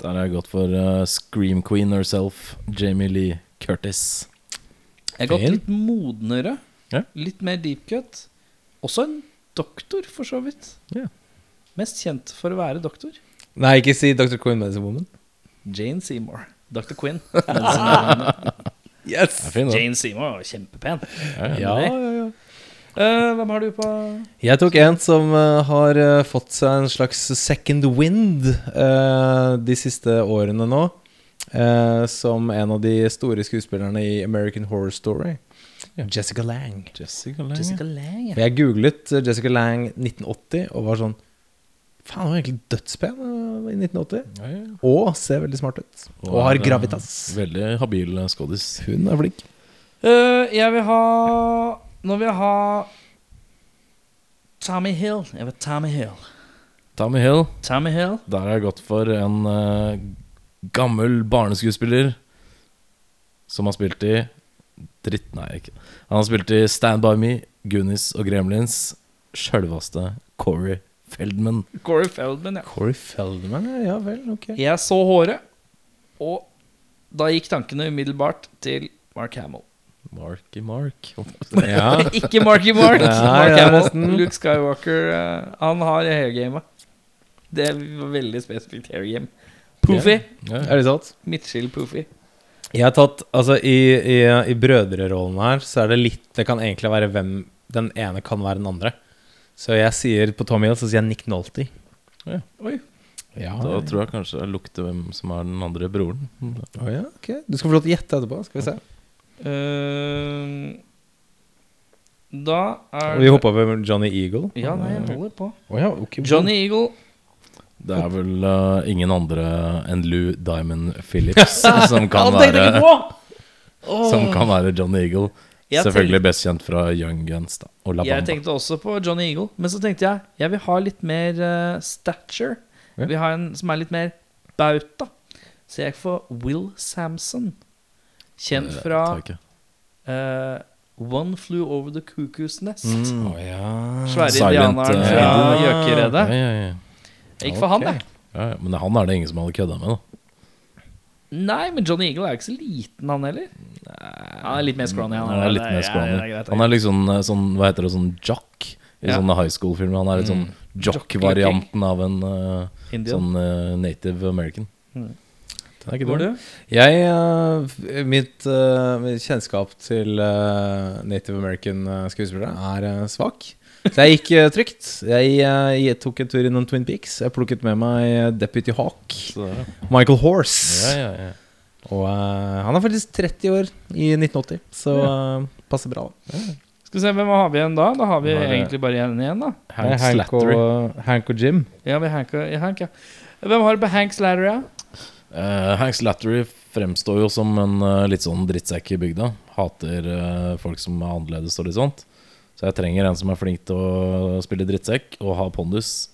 Der har jeg gått for eh, Scream Queen herself, Jamie Lee Curtis.
Jeg har gått
Fin.
litt modnere.
Ja.
Litt mer deep cut. Også en doktor, for så vidt.
Ja.
Mest kjent for å være doktor.
Nei, ikke si Dr. Queen Medicine Woman.
Jane Seymour. Dr. Quinn.
Yes!
Det er fin, da.
Jane Seymour var kjempepen.
Ja, ja.
Ja, ja, ja.
Eh, hvem har du på
Jeg tok en som eh, har eh, fått seg en slags second wind eh, de siste årene nå. eh, som en av de store skuespillerne i American Horror Story.
Ja.
Jessica Lang.
Jessica Lange.
Jessica Lange?
For jeg googlet eh, Jessica Lang 1980 og var sånn Faen, hun var egentlig dødspen eh, i 1980.
Ja, ja.
Og ser veldig smart ut. Og,
er,
har
eh,
gravitas.
Veldig habil eh, skådis.
Hun er flink.
Eh, jeg vil ha Nå vil jeg ha Tommy Hill. Jeg vil ha Tommy Hill.
Tommy Hill.
Tommy Hill.
Der har jeg gått for en eh, gammel barneskuespiller som har spilt i Dritt, nei, ikke Han har spilt i Stand By Me, Goonies og Gremlins. Sjølveste Corey Feldman.
Corey Feldman, ja.
Corey Feldman, ja, ja vel, ok.
Jeg så håret, og da gikk tankene umiddelbart til Mark Hamill.
Marky Mark.
Ja.
Ikke Marky Mark.
Nei,
Mark
det er
Hamill,
nesten.
Luke Skywalker. eh, han har hairgamet. Det var veldig spesifikt hairgame. Poofy.
Ja,
Er det sant?
Midtskill Poofy.
Jeg har tatt, altså i, i, I brødrerollen her så er det litt Det kan egentlig være hvem den ene kan være den andre. Så jeg sier på Tommy Hill så sier jeg Nick Nolty.
Ja.
Oi.
Ja,
Da tror jeg kanskje jeg lukter hvem som er den andre broren.
Å ja, ok. Du skal få lov til å gjette etterpå. Skal vi se.
Eh, da er
Vi hoppa over Johnny Eagle.
Ja, nei, jeg holder på.
Å ja, ok.
Johnny Eagle
Det er vel eh, ingen andre enn Lou Diamond Phillips som kan
Han tenkte ikke
være
på!
Som kan være John Eagle.
Jeg
Selvfølgelig best kjent fra Young Guns da, og La
Jeg
Bamba.
tenkte også på Johnny Eagle, men så tenkte jeg jeg vil ha litt mer eh, stature.
Ja.
Vi har en som er litt mer bauta. Så jeg gikk for Will Samson. Kjent
Det
fra
tar jeg ikke.
eh, One Flew Over The Cuckoo's Nest.
Å ja.
Svære
Mm. Silent,
indianeren
eh,
fra
ja.
Gjøkeredet.
Ja, ja, ja.
Jeg gikk for han,
Ok.
jeg.
Ja, ja, men han er det ingen som hadde kødda med, da.
Nei, men Johnny Eagle er jo ikke så liten, han heller. Han er litt mer scrawny.
Han er litt
Det
mer scrawny.
det er greit, det er
Han er liksom eh, sånn, hva heter det, sånn jock i
Ja.
sånne high school-filmer. Han er litt sånn jock-varianten av en eh,
greit. Indian.
sånn eh, native american.
Den er ikke
Går
dum.
du?
Jeg, eh, f- mitt, eh, mitt kjennskap til eh, Native American eh, skuespillere er eh, svak. Så jeg gikk eh, trygt. Jeg, eh, jeg tok en tur innom Twin Peaks. Jeg plukket med meg eh, Deputy Hawk,
Så, ja,
Michael Horse.
ja, ja.
Og eh, han er faktisk 30 år i 1980, så eh, passer bra. da.
Skal vi se, hvem har vi igjen da? Da har vi
Har vi-
egentlig bare igjen igjen, da.
Det er
Hank Slattery.
og, eh, Hank og Jim.
Ja, vi Hank, ja, Hank, ja. Hvem har du på Hank Slatter, ja?
Eh, Hank Slattery fremstår jo som en eh, litt sånn drittsekk i bygda. Hater eh, folk som er annerledes og litt sånt. Så jeg trenger en som er flink til å spille drittsekk og ha pondus.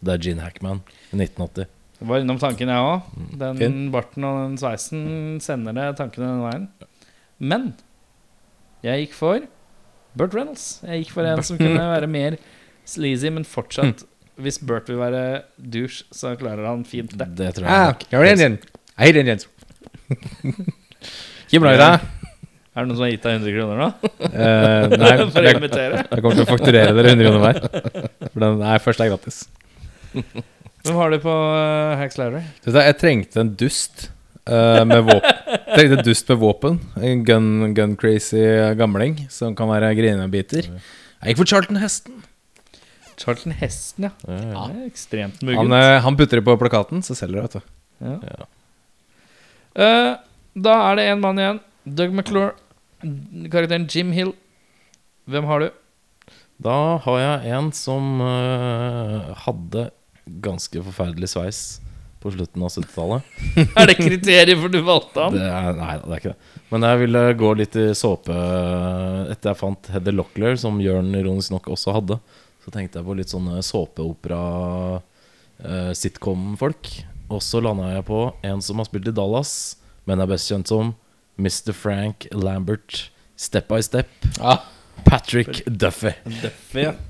Det er Gene Hackman i Mm. 1980.
Jeg var innom tanken, jeg òg. Den
Fin.
barten og den sveisen sender det tankene den veien. Men jeg gikk for Burt Reynolds. Jeg gikk for en som kunne være mer sleazy, men fortsatt Hvis Burt vil være douche, så klarer han fint det.
Det tror jeg
Ah,
nok.
you're Indian. I hate Indians. Kim
Ja.
Laira.
Er det noen som har gitt deg 100 kroner nå?
Eh, nei,
For å
jeg,
invitere?
jeg kommer til å fakturere dere 100 kroner hver. For den er først er gratis.
Hvem har du på uh, Hacks Library?
Vet du hva, Jeg trengte en dust eh, med våpen. Trengte en dust med våpen. En gun, gun crazy gamling som kan være grinebiter. Jeg gikk for Charlton Heston.
Charlton Hesten, ja. Det er Ekstremt
Han,
muggent.
eh, han putter det på plakaten, så selger det, vet du.
Ja.
Eh, da er det én mann igjen. Doug McClure. Karakteren Jim Hill. Hvem har du?
Da har jeg en som eh, hadde ganske forferdelig sveis på slutten av 70-tallet.
Er det kriteriet for du valgte han?
Det er- Nei, det er ikke det. Men jeg ville gå litt i såpe eh, etter jeg fant Heather Locklear, som Jørn ironisk nok også hadde. Så tenkte jeg på litt sånne såpeopera-sitcom-folk. Og så landa jeg på en som har spilt i Dallas, men er best kjent som Mr. Frank Lambert. Step by step. Patrick Duffy.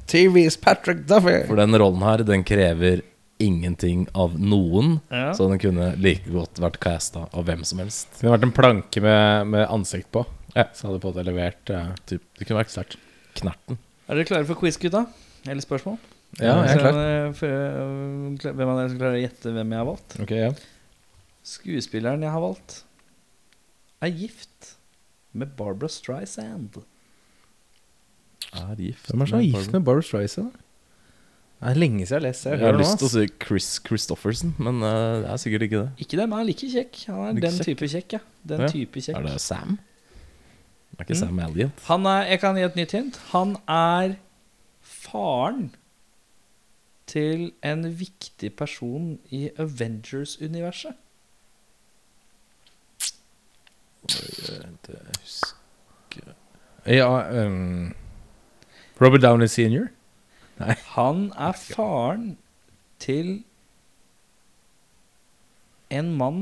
TV's Patrick Duffy.
For den rollen her, den krever ingenting av noen.
Ja.
Så den kunne like godt vært casta av hvem som helst.
Det kunne vært en planke med, med ansikt på. Så hadde du fått det levert. eh,
Typ, det kunne vært sterkt. Knerten.
Er dere klare for quiz, gutta? Eller spørsmål?
Ja,
Se om
jeg er klar.
dere- for, øh, kla- Hvem av dere som klarer å gjette hvem jeg har valgt?
Ok, ja.
Skuespilleren jeg har valgt, er gift med Barbara Streisand.
Er gift.
Hvem er så gift med Barbra Streisand? Det er lenge siden jeg har lest det.
Jeg har lyst til å si Chris Christoffersen, men eh, det er sikkert ikke det.
Ikke det, men han er like kjekk. Han er
Like
den
kjekk.
type kjekk, ja. Den
Ja.
type kjekk.
Er det Sam? Er ikke Sam Elliot?
Han er, jeg kan gi et nytt hint. Han er faren til en viktig person i Avengers-universet.
Ja, ehm, Robert Downey senior.
Han er faren til en mann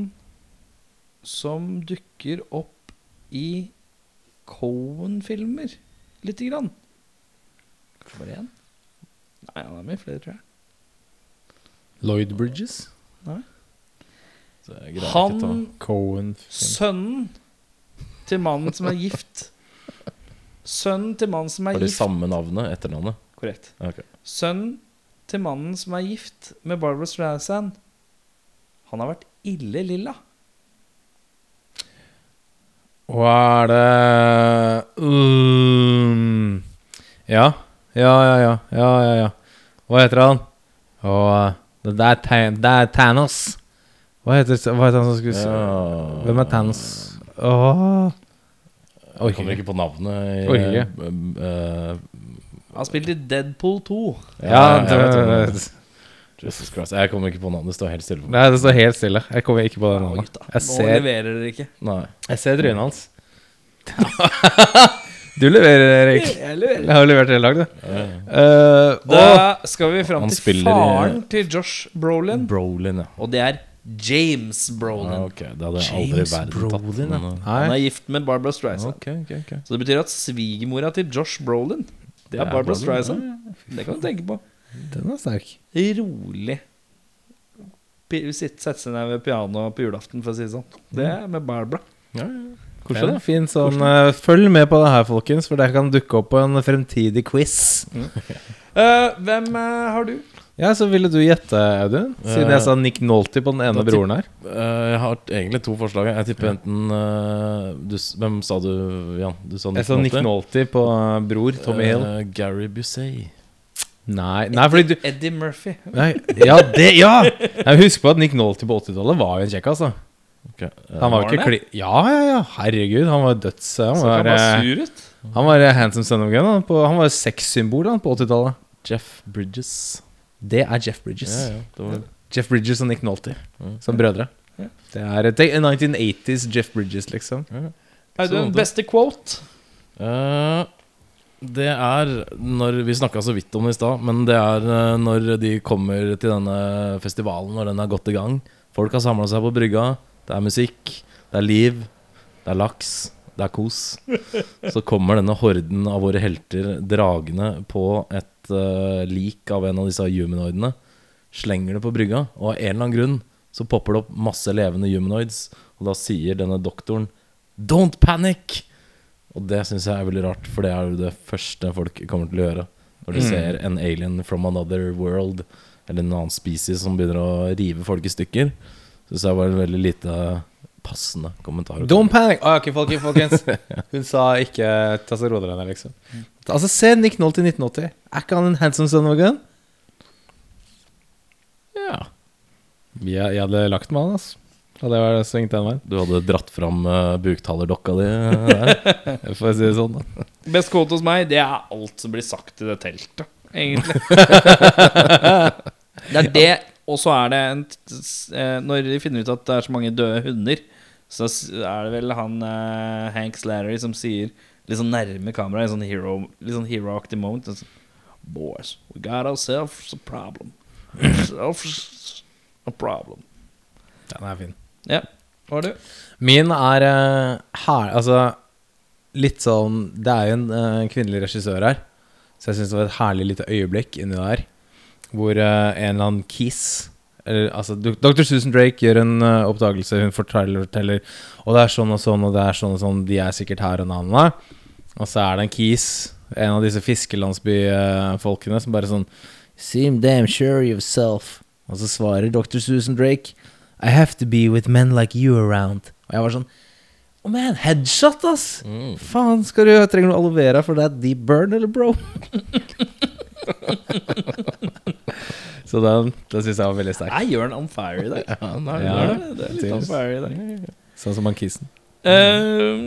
som dukker opp i Cohen-filmer lite grann. For én? Nei, han er med i flere, tror jeg.
Lloyd Bridges.
Så jeg greier ikke å
Han
Cohen.
Sønnen til mannen som er gift. Sønnen til mannen som
ta-
er
Har de
gift.
samme navnet, etternavnet?
Korrekt.
Ok.
Sønnen til mannen som er gift med Barbara Streisand. Han har vært ille lilla.
Og er det mm, ja. ja, ja, ja, ja, ja, ja. Hva heter han? Og eh, det der Tan- det er Thanos. Hva heter, hva heter han som skulle
Ja.
Hvem er Thanos? Åh.
Jeg kommer ikke på navnet. i,
Orker ikke.
eh, eh,
Han spilte i Deadpool 2.
Ja,
jeg
det,
vet hvem det er.
det,
Jesus Christ. Jeg kommer ikke på navnet. Det står helt stille. for meg.
nei, det står helt stille. Jeg kommer ikke på det
Å,
navnet.
gutta.
Jeg
Nå
ser,
leverer dere ikke.
Nei.
jeg ser trynet hans. du leverer, Erik. Jeg har levert hele dag, du. Eh, og-
Da skal vi fram
Han
til
spiller i-
faren til Josh Brolin.
Brolin, ja.
Og det er James
Ja,
Brolin.
ok, det hadde jeg aldri i verden tatt. men, uh,
Han
Nei.
er gift med Barbara Streisand.
Ok, ok, ok
Så det betyr at svigermora til Josh Brolin, det er,
er
Barbara
Barbara,
Streisand. Det kan du tenke på.
Den er sterk.
Rolig. Pi- sitt- Sette seg ned ved pianoet på julaften, for å si det sånn. Det er med Barbara.
Ja, ja,
Ja, det er fin sånn, eh, følg med på det her, folkens, for det kan dukke opp på en fremtidig quiz.
Eh, hvem eh, har du?
Ja, Så ville du gjette, Audun? Siden jeg sa Nick Nolty på den ene
da tipp-
broren her.
Eh, jeg har egentlig to forslag. Jeg tipper enten eh, du, s- Hvem sa du, Jan? Du sa
Jeg sa Nick
Nolte.
Nolty på eh, bror Tommy Hill.
Eh, Gary Busey.
Nei, nei fordi du
Eddie Murphy.
nei, Ja, det Ja! Jeg husker på at Nick Nolty på 80-tallet var jo en kjekk, altså.
Ok, eh,
Han var
Var
jo ikke kli... Ja, ja, ja. Herregud, han var døds... Han
Så
var,
kan man
eh,
sur ut.
han var eh, handsome son of a gun. Han, på, han var sexsymbol han, på 80-tallet.
Jeff Bridges.
Det er Jeff Bridges.
Ja, ja, det var,
Jeff Bridges og Nick Nolte som brødre. Det er et- tenk, 1980s Jeff Bridges, liksom.
Audun, beste quote?
Eh, det er når Vi snakka så vidt om det i stad, men det er eh, når de kommer til denne festivalen, når den er godt i gang. Folk har samla seg på brygga. Det er musikk, det er liv, det er laks, det er kos. Så kommer denne horden av våre helter dragende på et eh, lik av en av disse humanoidene. Slenger det på brygga, og av en eller annen grunn så popper det opp masse levende humanoids. Og da sier denne doktoren 'Don't panic'! Og det syns jeg er veldig rart, for det er jo det første folk kommer til å gjøre når de ser en alien from another world Eller en annen species som begynner å rive folk i stykker. Syns jeg var en veldig lite passende kommentar. å komme
Don't panic! Ah, ok, folke- folkens. Hun sa ikke tasseroderne, liksom. Altså, se Nick Nolte i 1980. Er ikke han en handsome son of a gun?
med. Ja.
Jeg, jeg hadde lagt med han, altså. Hadde jeg vært svingt den veien.
Du hadde dratt fram eh, buktallerdokka di eh, der.
For å si det sånn, da.
Best quote hos meg, det er alt som blir sagt i det teltet, egentlig. det er det, og så er det en t- s- eh, Når de finner ut at det er så mange døde hunder, så s- er det vel han eh, Hank Slattery som sier litt sånn nærme kamera, en sånn hero litt sånn heroaktig moment en sånn, Boys, we got ourselves a problem. Ourselves a problem.
Den er fin.
Ja. Hva har du?
Min er eh, her Altså, litt sånn Det er jo en eh, kvinnelig regissør her, så jeg syns det var et herlig lite øyeblikk inni der hvor eh, en eller annen Kiss eller, altså, du- Dr. Susan Drake gjør en eh, oppdagelse. Hun forteller, forteller Og det er sånn og sånn, og det er sånn og sånn, de er sikkert her og navnene. Og så er det en Kiss, en av disse fiskelandsbyfolkene, som bare sånn Seem damn sure yourself. Og så svarer Dr. Susan Drake I have to be with men like you around. Og jeg var sånn Oh man, headshot, ass!
Mm.
Faen, skal du trenger du aloe vera for that deep burn, eller bro? så den, den syns jeg var veldig sterk.
Jeg gjør en on fire i dag.
nei,
Ja,
det, er det. det er litt on
tydeligvis.
fire i dag.
Sånn som han kissen.
Eh,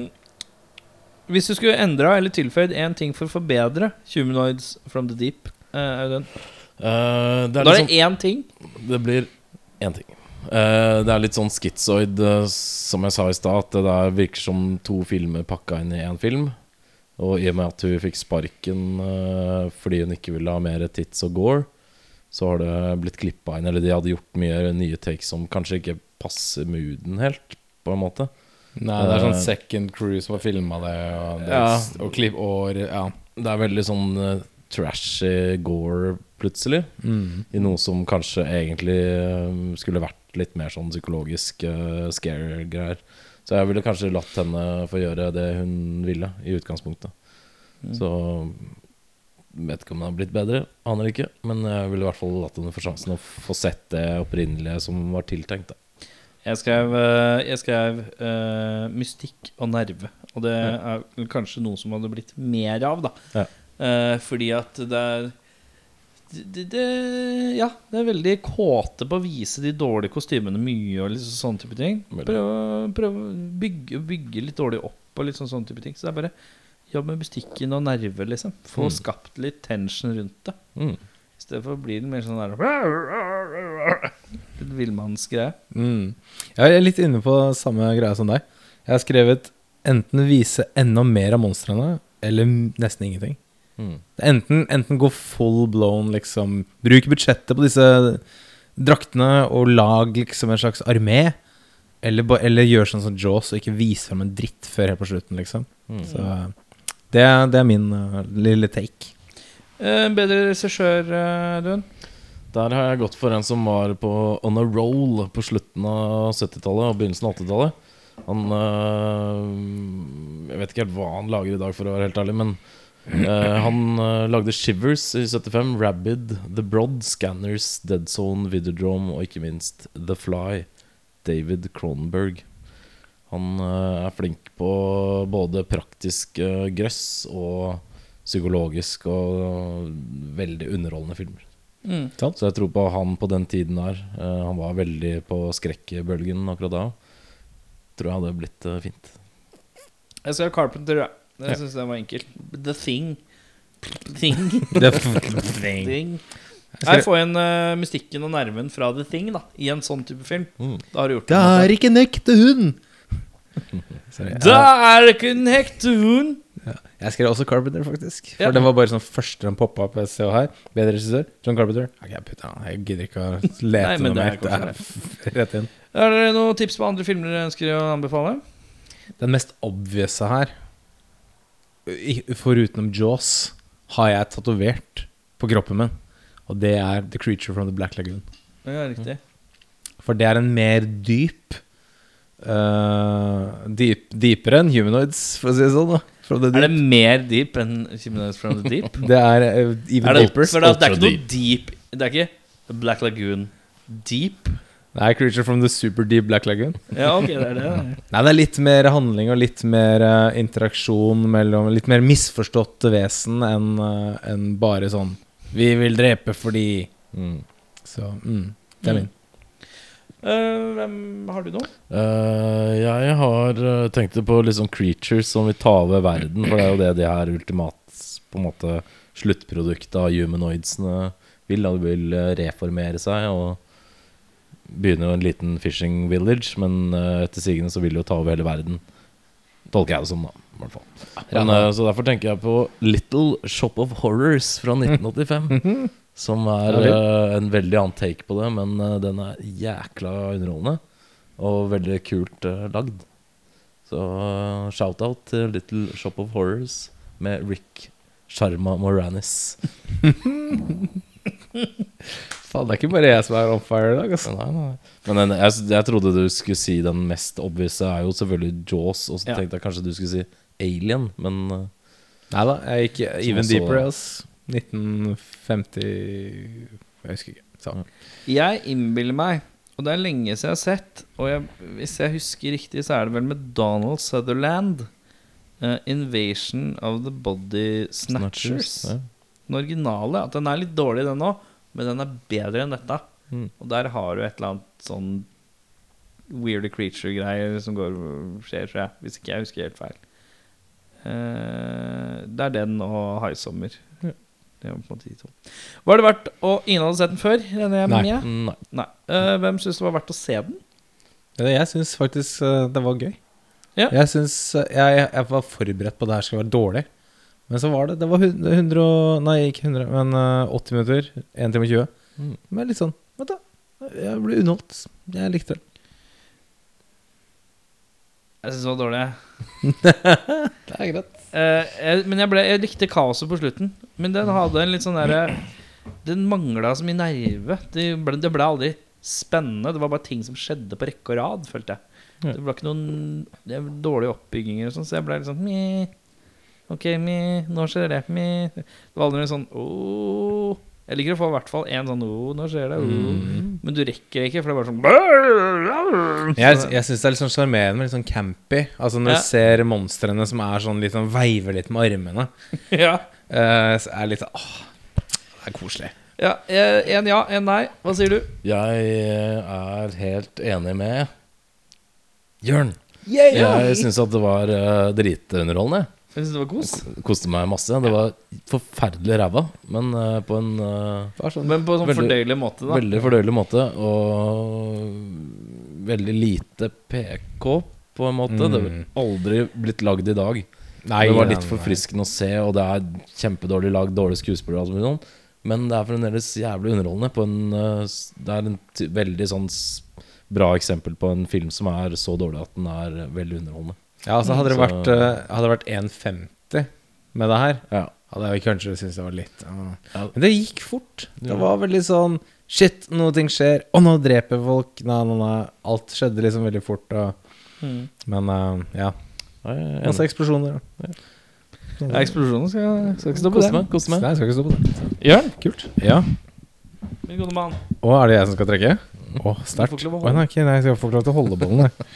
hvis du skulle endra eller tilføyd én ting for å forbedre Humanoids from the deep eh, Audun
Eh, det, er
Da er
litt
det én ting.
sånn, det blir én ting. Eh, det er litt sånn skitsoid, eh, som jeg sa i stad, at det der virker som to filmer pakka inn i én film. Og i og med at hun fikk sparken eh, fordi hun ikke ville ha mer tits og gore, så har det blitt klippa inn, eller de hadde gjort mye nye takes som kanskje ikke passer mooden helt, på en måte.
Nei,
det er sånn
second crew som har filma det, og,
det-
klipp og Ja.
Det er veldig sånn eh, trashy gore plutselig.
Mm.
I noe som kanskje egentlig eh, skulle vært litt mer sånn psykologisk uh, scare-greier. Så jeg ville kanskje latt henne få gjøre det hun ville i utgangspunktet. Så vet ikke om det har blitt bedre, aner ikke. Men jeg ville i hvert fall latt henne få sjansen å få sett det opprinnelige som var tiltenkt. Da.
Jeg skrev, eh, jeg skrev eh, mystikk og nerve. Og det er vel kanskje noe som hadde blitt mer av, da.
Ja.
Eh, fordi at det er det, det- det, ja, det er veldig kåte på å vise de dårlige kostymene mye og liksom sånne type ting.
Veldig.
Prøve, prøve å bygge, bygge litt dårlig opp og litt sånn sånne type ting. Så det er bare jobb med mystikken og nerve, liksom. Få skapt litt tension rundt det.
Mm.
I stedet for blir det mer sånn der Litt villmannsgreie.
Mm. Jeg er litt inne på samme greia som deg. Jeg har skrevet enten vise enda mer av monstrene, eller m- nesten ingenting.
Mm.
Enten, enten gå full blown, liksom Bruk budsjettet på disse draktene og lag liksom en slags armé. Eller, ba- eller gjør sånn som Jaws og ikke vise fram en dritt før helt på slutten, liksom.
Mm.
Så det, er- det er min uh, lille take.
Eh, bedre regissør, eh, Audun?
Der har jeg gått for en som var på on a roll på slutten av 70-tallet og begynnelsen av 80-tallet. Han øh, Jeg vet ikke helt hva han lager i dag, for å være helt ærlig, men øh, han øh, lagde Shivers i 75, Rabid, The Broad, Scanners, Dead Zone, Videodrome og ikke minst The Fly. David Cronenberg. Han øh, er flink på både praktisk øh, grøss og psykologisk og eh, veldig underholdende filmer.
Mm.
Så jeg tror på han på den tiden her. Eh, han var veldig på skrekkbølgen akkurat da. Tror jeg hadde blitt eh, fint.
Jeg skrev Carpenter. Ja. Jeg syns den var enkel. The Thing. Thing. Thing. Her får jeg en eh, mystikken og nerven fra The Thing da i en sånn type film.
Mm.
Da har du gjort
Det er ikke en ekte hund! Sorry.
Da er det ikke en hekte hund!
Jeg skrev også Carpenter, faktisk. For
Ja.
det var bare sånn første den poppa opp. Jeg ser her Bedre regissør. John Carpenter. Ok, jeg putter han Jeg gidder ikke å lete
Nei, men
noe mer.
det er kanskje
Det er Rett inn.
Er det noen tips på andre filmer dere ønsker å anbefale?
Den mest obvious her, i- forutenom Jaws, har jeg tatovert på kroppen min. Og det er The Creature from the Black Lagoon.
Ja, riktig.
For det er en mer dyp eh, dyp, Dypere enn humanoids, for å si det sånn. Da. From the
Mm. Er det
deep.
mer deep enn Chimneys from the Deep?
Det er eh, even
er det,
deeper.
for det, er- det er ikke
Ultra
noe deep Det er ikke Black Lagoon. Deep.
Det er Creature from the Super Deep Black Lagoon.
Ja, ok, det er det.
Nei, det er litt mer handling og litt mer eh, interaksjon mellom Litt mer misforstått vesen enn eh, enn bare sånn 'Vi vil drepe fordi' Så mm, det er min.
Eh, hvem, har du noe?
Eh, jeg har eh, tenkt på litt sånn creatures som vil ta over verden, for det er jo det de her ultimat på en måte sluttproduktet av humanoidsene vil. Da de vil eh, reformere seg og begynne jo en liten fishing village, men eh, etter sigende så vil de jo ta over hele verden. Tolker jeg det som, da. I hvert fall. Men, eh, så derfor tenker jeg på Little Shop of Horrors fra 1985. Som er eh, en veldig annen take på det, men eh, den er jækla underholdende. Og veldig kult eh, lagd. Så eh, shout-out til Little Shop of Horrors med Rick Sharma Moranis.
Faen, det er ikke bare jeg som er on fire i dag, altså.
Nei, nei. Men den, jeg, jeg trodde du skulle si den mest obvise er jo selvfølgelig Jaws. Og så
Ja.
tenkte jeg kanskje du skulle si Alien, men eh,
Nei da, jeg gikk even
så-
deeper, altså. 1950 Jeg husker ikke. Så.
Jeg innbiller meg, og det er lenge siden jeg har sett Og jeg, hvis jeg husker riktig, så er det vel med Donald Sutherland. eh, 'Invasion of the Body Snatchers'.
Ja.
Den originale. At den er litt dårlig, den òg, men den er bedre enn dette.
Mm.
Og der har du et eller annet sånn weird creature-greier som går, skjer, tror jeg. Hvis ikke jeg husker helt feil. Eh, det er den og 'Haisommer'. Det var på en måte de to. Var det verdt å Ingen hadde sett den før? regner jeg med?
Nei.
Nei.
Nei. Eh, hvem syns det var verdt å se den?
Ja, Jeg syns faktisk eh, det var gøy.
Ja.
Jeg, synes, eh, jeg, jeg var forberedt på at det her skulle være dårlig, men så var det Det var hun- 100 og Nei, ikke 100, men eh, 80 minutter. 1 time og 20.
Mm.
Men litt sånn Vet du, jeg ble underholdt. Jeg likte det.
Jeg syns det var dårlig.
Det er greit.
Eh, jeg, men jeg, ble, jeg likte kaoset på slutten. Men den hadde en litt sånn derre Den mangla så mye nerve. Det ble, det ble aldri spennende. Det var bare ting som skjedde på rekke og rad, følte jeg. Det ble ikke noen det var dårlige oppbygginger og sånn, så jeg ble litt sånn meh. Ok, meh. Nå skjer det. Meh. Det var aldri noe sånn åh. Jeg liker å få i hvert fall én sånn åh, nå skjer det. Åh. Men du rekker det ikke, for det er bare sånn brrrr.
Jeg, jeg syns det er litt sånn sjarmerende, men litt sånn campy. Altså Når
Ja.
du ser monstrene som er sånn litt sånn veiver litt med armene,
ja.
eh, så er det litt sånn Åh, det er koselig.
ja. eh, En ja, en nei. Hva sier du?
Jeg eh, er helt enig med Jørn. Jeg syns at det var eh, dritunderholdende.
Jeg syns det var kos.
Koste meg masse. Det var forferdelig ræva, men eh, på en eh,
Men på en sånn
Veldig-
fordøyelig måte, da.
veldig fordøyelig måte. Og veldig lite PK, på en måte. Det ville aldri blitt lagd i dag.
Mm. Nei,
det var
nei,
litt
nei.
forfriskende å se, og det er kjempedårlig lag, dårlig skuespiller og alt mulig sånn. Men det er fremdeles jævlig underholdende. På en, eh, s- det er en ty- veldig sånn s- bra eksempel på en film som er så dårlig at den er eh, veldig underholdende.
Ja, altså Hadde det
Så-
vært, eh, hadde det vært 1,50 med det her,
Ja.
hadde jeg kanskje syntes det var litt ah.
Ja.
Men det gikk fort.
Ja.
Det var veldig sånn Shit, noe ting skjer. Å, nå dreper folk. Nei, nei, nei. Alt skjedde liksom veldig fort. Og, Men eh, ja.
Nei, jeg er
Masse
enig.
eksplosjoner. da.
Ja, eksplosjonen skal, skal ikke stå på
Koste
det.
meg. Koste
Nei,
meg.
jeg skal ikke stå på det.
Jørn,
Kult. Ja.
min gode mann.
Å, er det jeg som skal trekke? Å,
Mm. Du får
sterkt.
ikke lov å
Å, Nei, ok, nei, jeg skal få ikke lov til å holde bollen, jeg.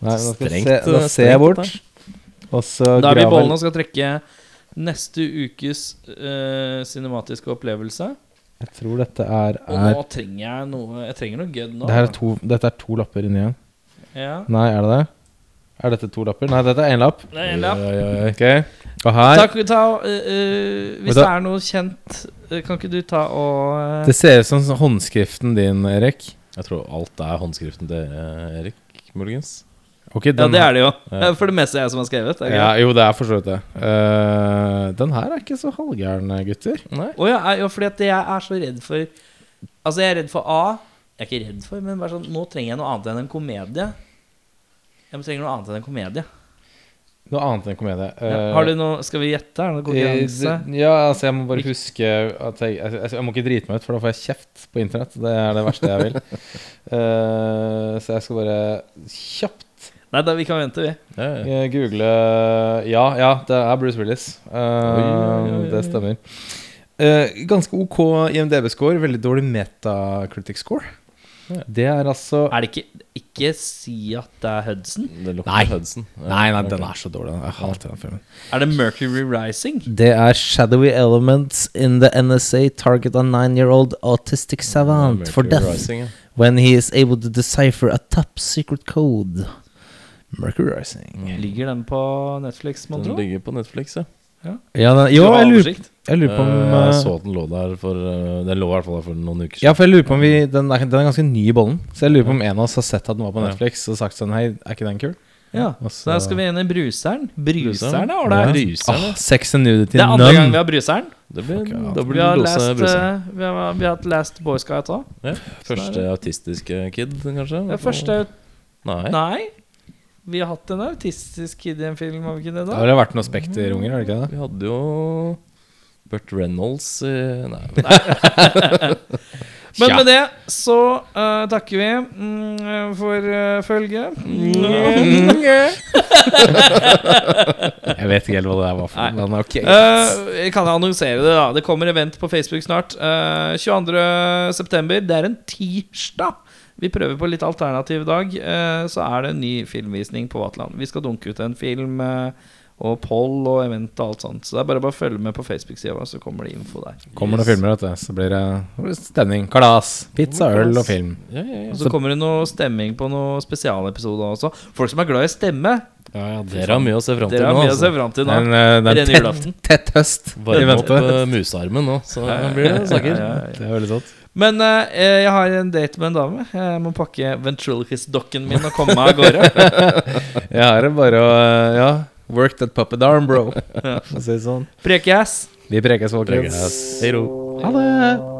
Nei, men da skal jeg se,
Strengt,
da
eh,
ser jeg
strengt,
bort. Og så
Da er vi i
graver-
bollen altså. og skal trekke neste ukes eh, cinematiske opplevelse.
Jeg tror dette er,
Og
er
nå trenger jeg noe Jeg trenger noe gødd nå.
det her er to, Dette er to lapper inni igjen.
ja.
Nei, er det det? Er dette to lapper? Nei, dette er én lapp.
Det er en lapp.
Ok Og her
Takk, ta, eh, eh,
Vet
hvis
du-
det er noe kjent, eh, kan ikke du ta og eh,
Det ser ut som sånn håndskriften din, Erik.
Jeg tror alt er håndskriften til eh, Erik, muligens.
Ok,
Ja,
den
det er det jo.
Ja.
For det meste er jeg som har skrevet.
ja, Jo, det er for så vidt det. Eh, den her er ikke så halvgæren, gutter.
Nei.
Å ja, ja, fordi at jeg er så redd for Altså, jeg er redd for A. Jeg er ikke redd for, men bare sånn Nå trenger jeg noe annet enn en komedie. Jeg trenger noe annet enn en komedie.
Noe annet enn komedie.
Ja.
Eh,
Har du noe Skal vi gjette? Er det noe konkurranse?
eh, Ja, altså, jeg må bare huske at jeg, jeg, jeg må ikke drite meg ut, for da får jeg kjeft på internett. Det er det verste jeg vil. Eh, så jeg skal bare kjapt
Nei da, vi kan vente, vi.
Ja, ja.
Eh, Google Ja, ja, det er Bruce Willis. Eh,
Oi, oi, oi, oi.
Det stemmer. Eh, ganske ok IMDb-score, veldig dårlig metacritic-score.
Ja.
Det er altså
Er det ikke Ikke si at det er Hudson.
Det lukter
Nei.
Hudson. Ja,
Nei, nei,
ok.
den er så dårlig. Jeg hater den filmen.
Er det Mercury Rising?
Det er 'Shadowy Elements in the NSA Target a Nine-Year-Old Autistic Savant for
Mercury
Death
Rising, ja.
When He Is Able to Decipher a Top Secret Code'. Mercury Rising.
Ligger den på Netflix, mon
Den
tro?
ligger på Netflix, ja.
Ja, den, jo,
Du har
jeg lurer,
oversikt?
jeg lurer på om
Eh, Jeg
eh,
så at den lå der for eh, Den lå i hvert fall der for noen uker
Ja, for jeg lurer på om vi den er, den er ganske ny i bollen. Så jeg lurer på om en av oss har sett at den var på
Ja.
Netflix og sagt sånn Hei, er ikke den kul?
Ja.
Og
Så der skal vi inn i Bruseren. Bruseren
Bruseren.
er ålreit.
Bruseren, ja.
Åh, sex and nudity.
Det er andre gang
Nunn.
vi har Bruseren.
Det blir
Fuck,
en
ja.
Vi
dobbel
har,
dose
last,
bruse.
eh, vi, har, vi har hatt Last Boy Scout òg.
Ja. Første autistiske kid, kanskje?
Det er første
Nei.
Nei. Vi har hatt en autistisk kid i en film, har vi ikke det?
Det
da?
har vel vært noen Spekter-unger, har det ikke det?
Vi hadde jo Burt Reynolds i Nei.
Men med det så eh, takker vi mm, eh, for eh, følget.
Jeg vet ikke helt hva det der var for noe, men ok.
Eh, jeg kan annonsere det, da. Det kommer event på Facebook snart. Uh, 22.9. Det er en tirsdag. Vi prøver på litt alternativ dag. eh, så er det en ny filmvisning på Vatland. Vi skal dunke ut en film eh, og poll og event og alt sånt. Så det er bare bare å følge med på Facebook-sida vår, så kommer det info der.
Kommer det filmer, vet du, så blir det så blir det stemning. Kalas. Pizza, øl og film.
Ja, ja, ja.
Og så kommer det noe stemming på noen spesialepisoder også. Folk som er glad i stemme,
ja, ja dere har mye å se fram til
dere har
nå.
mye å se
Altså.
fram til
Det
nå.
er en, eh, det er
Ren
en
julaften.
tett, tett høst i
Varme opp
vente.
eh, musearmen nå, så blir det saker.
Ja, ja, ja.
Det er veldig sant.
Men eh, jeg har en date med en dame. Jeg må pakke ventriloquist-dokken min og komme meg av gårde.
Jeg har det bare å eh, Ja. Work that puppet arm, bro. For å si det sånn.
Prekeass.
Vi prekes, folkens.
Hei ro.
Ha det.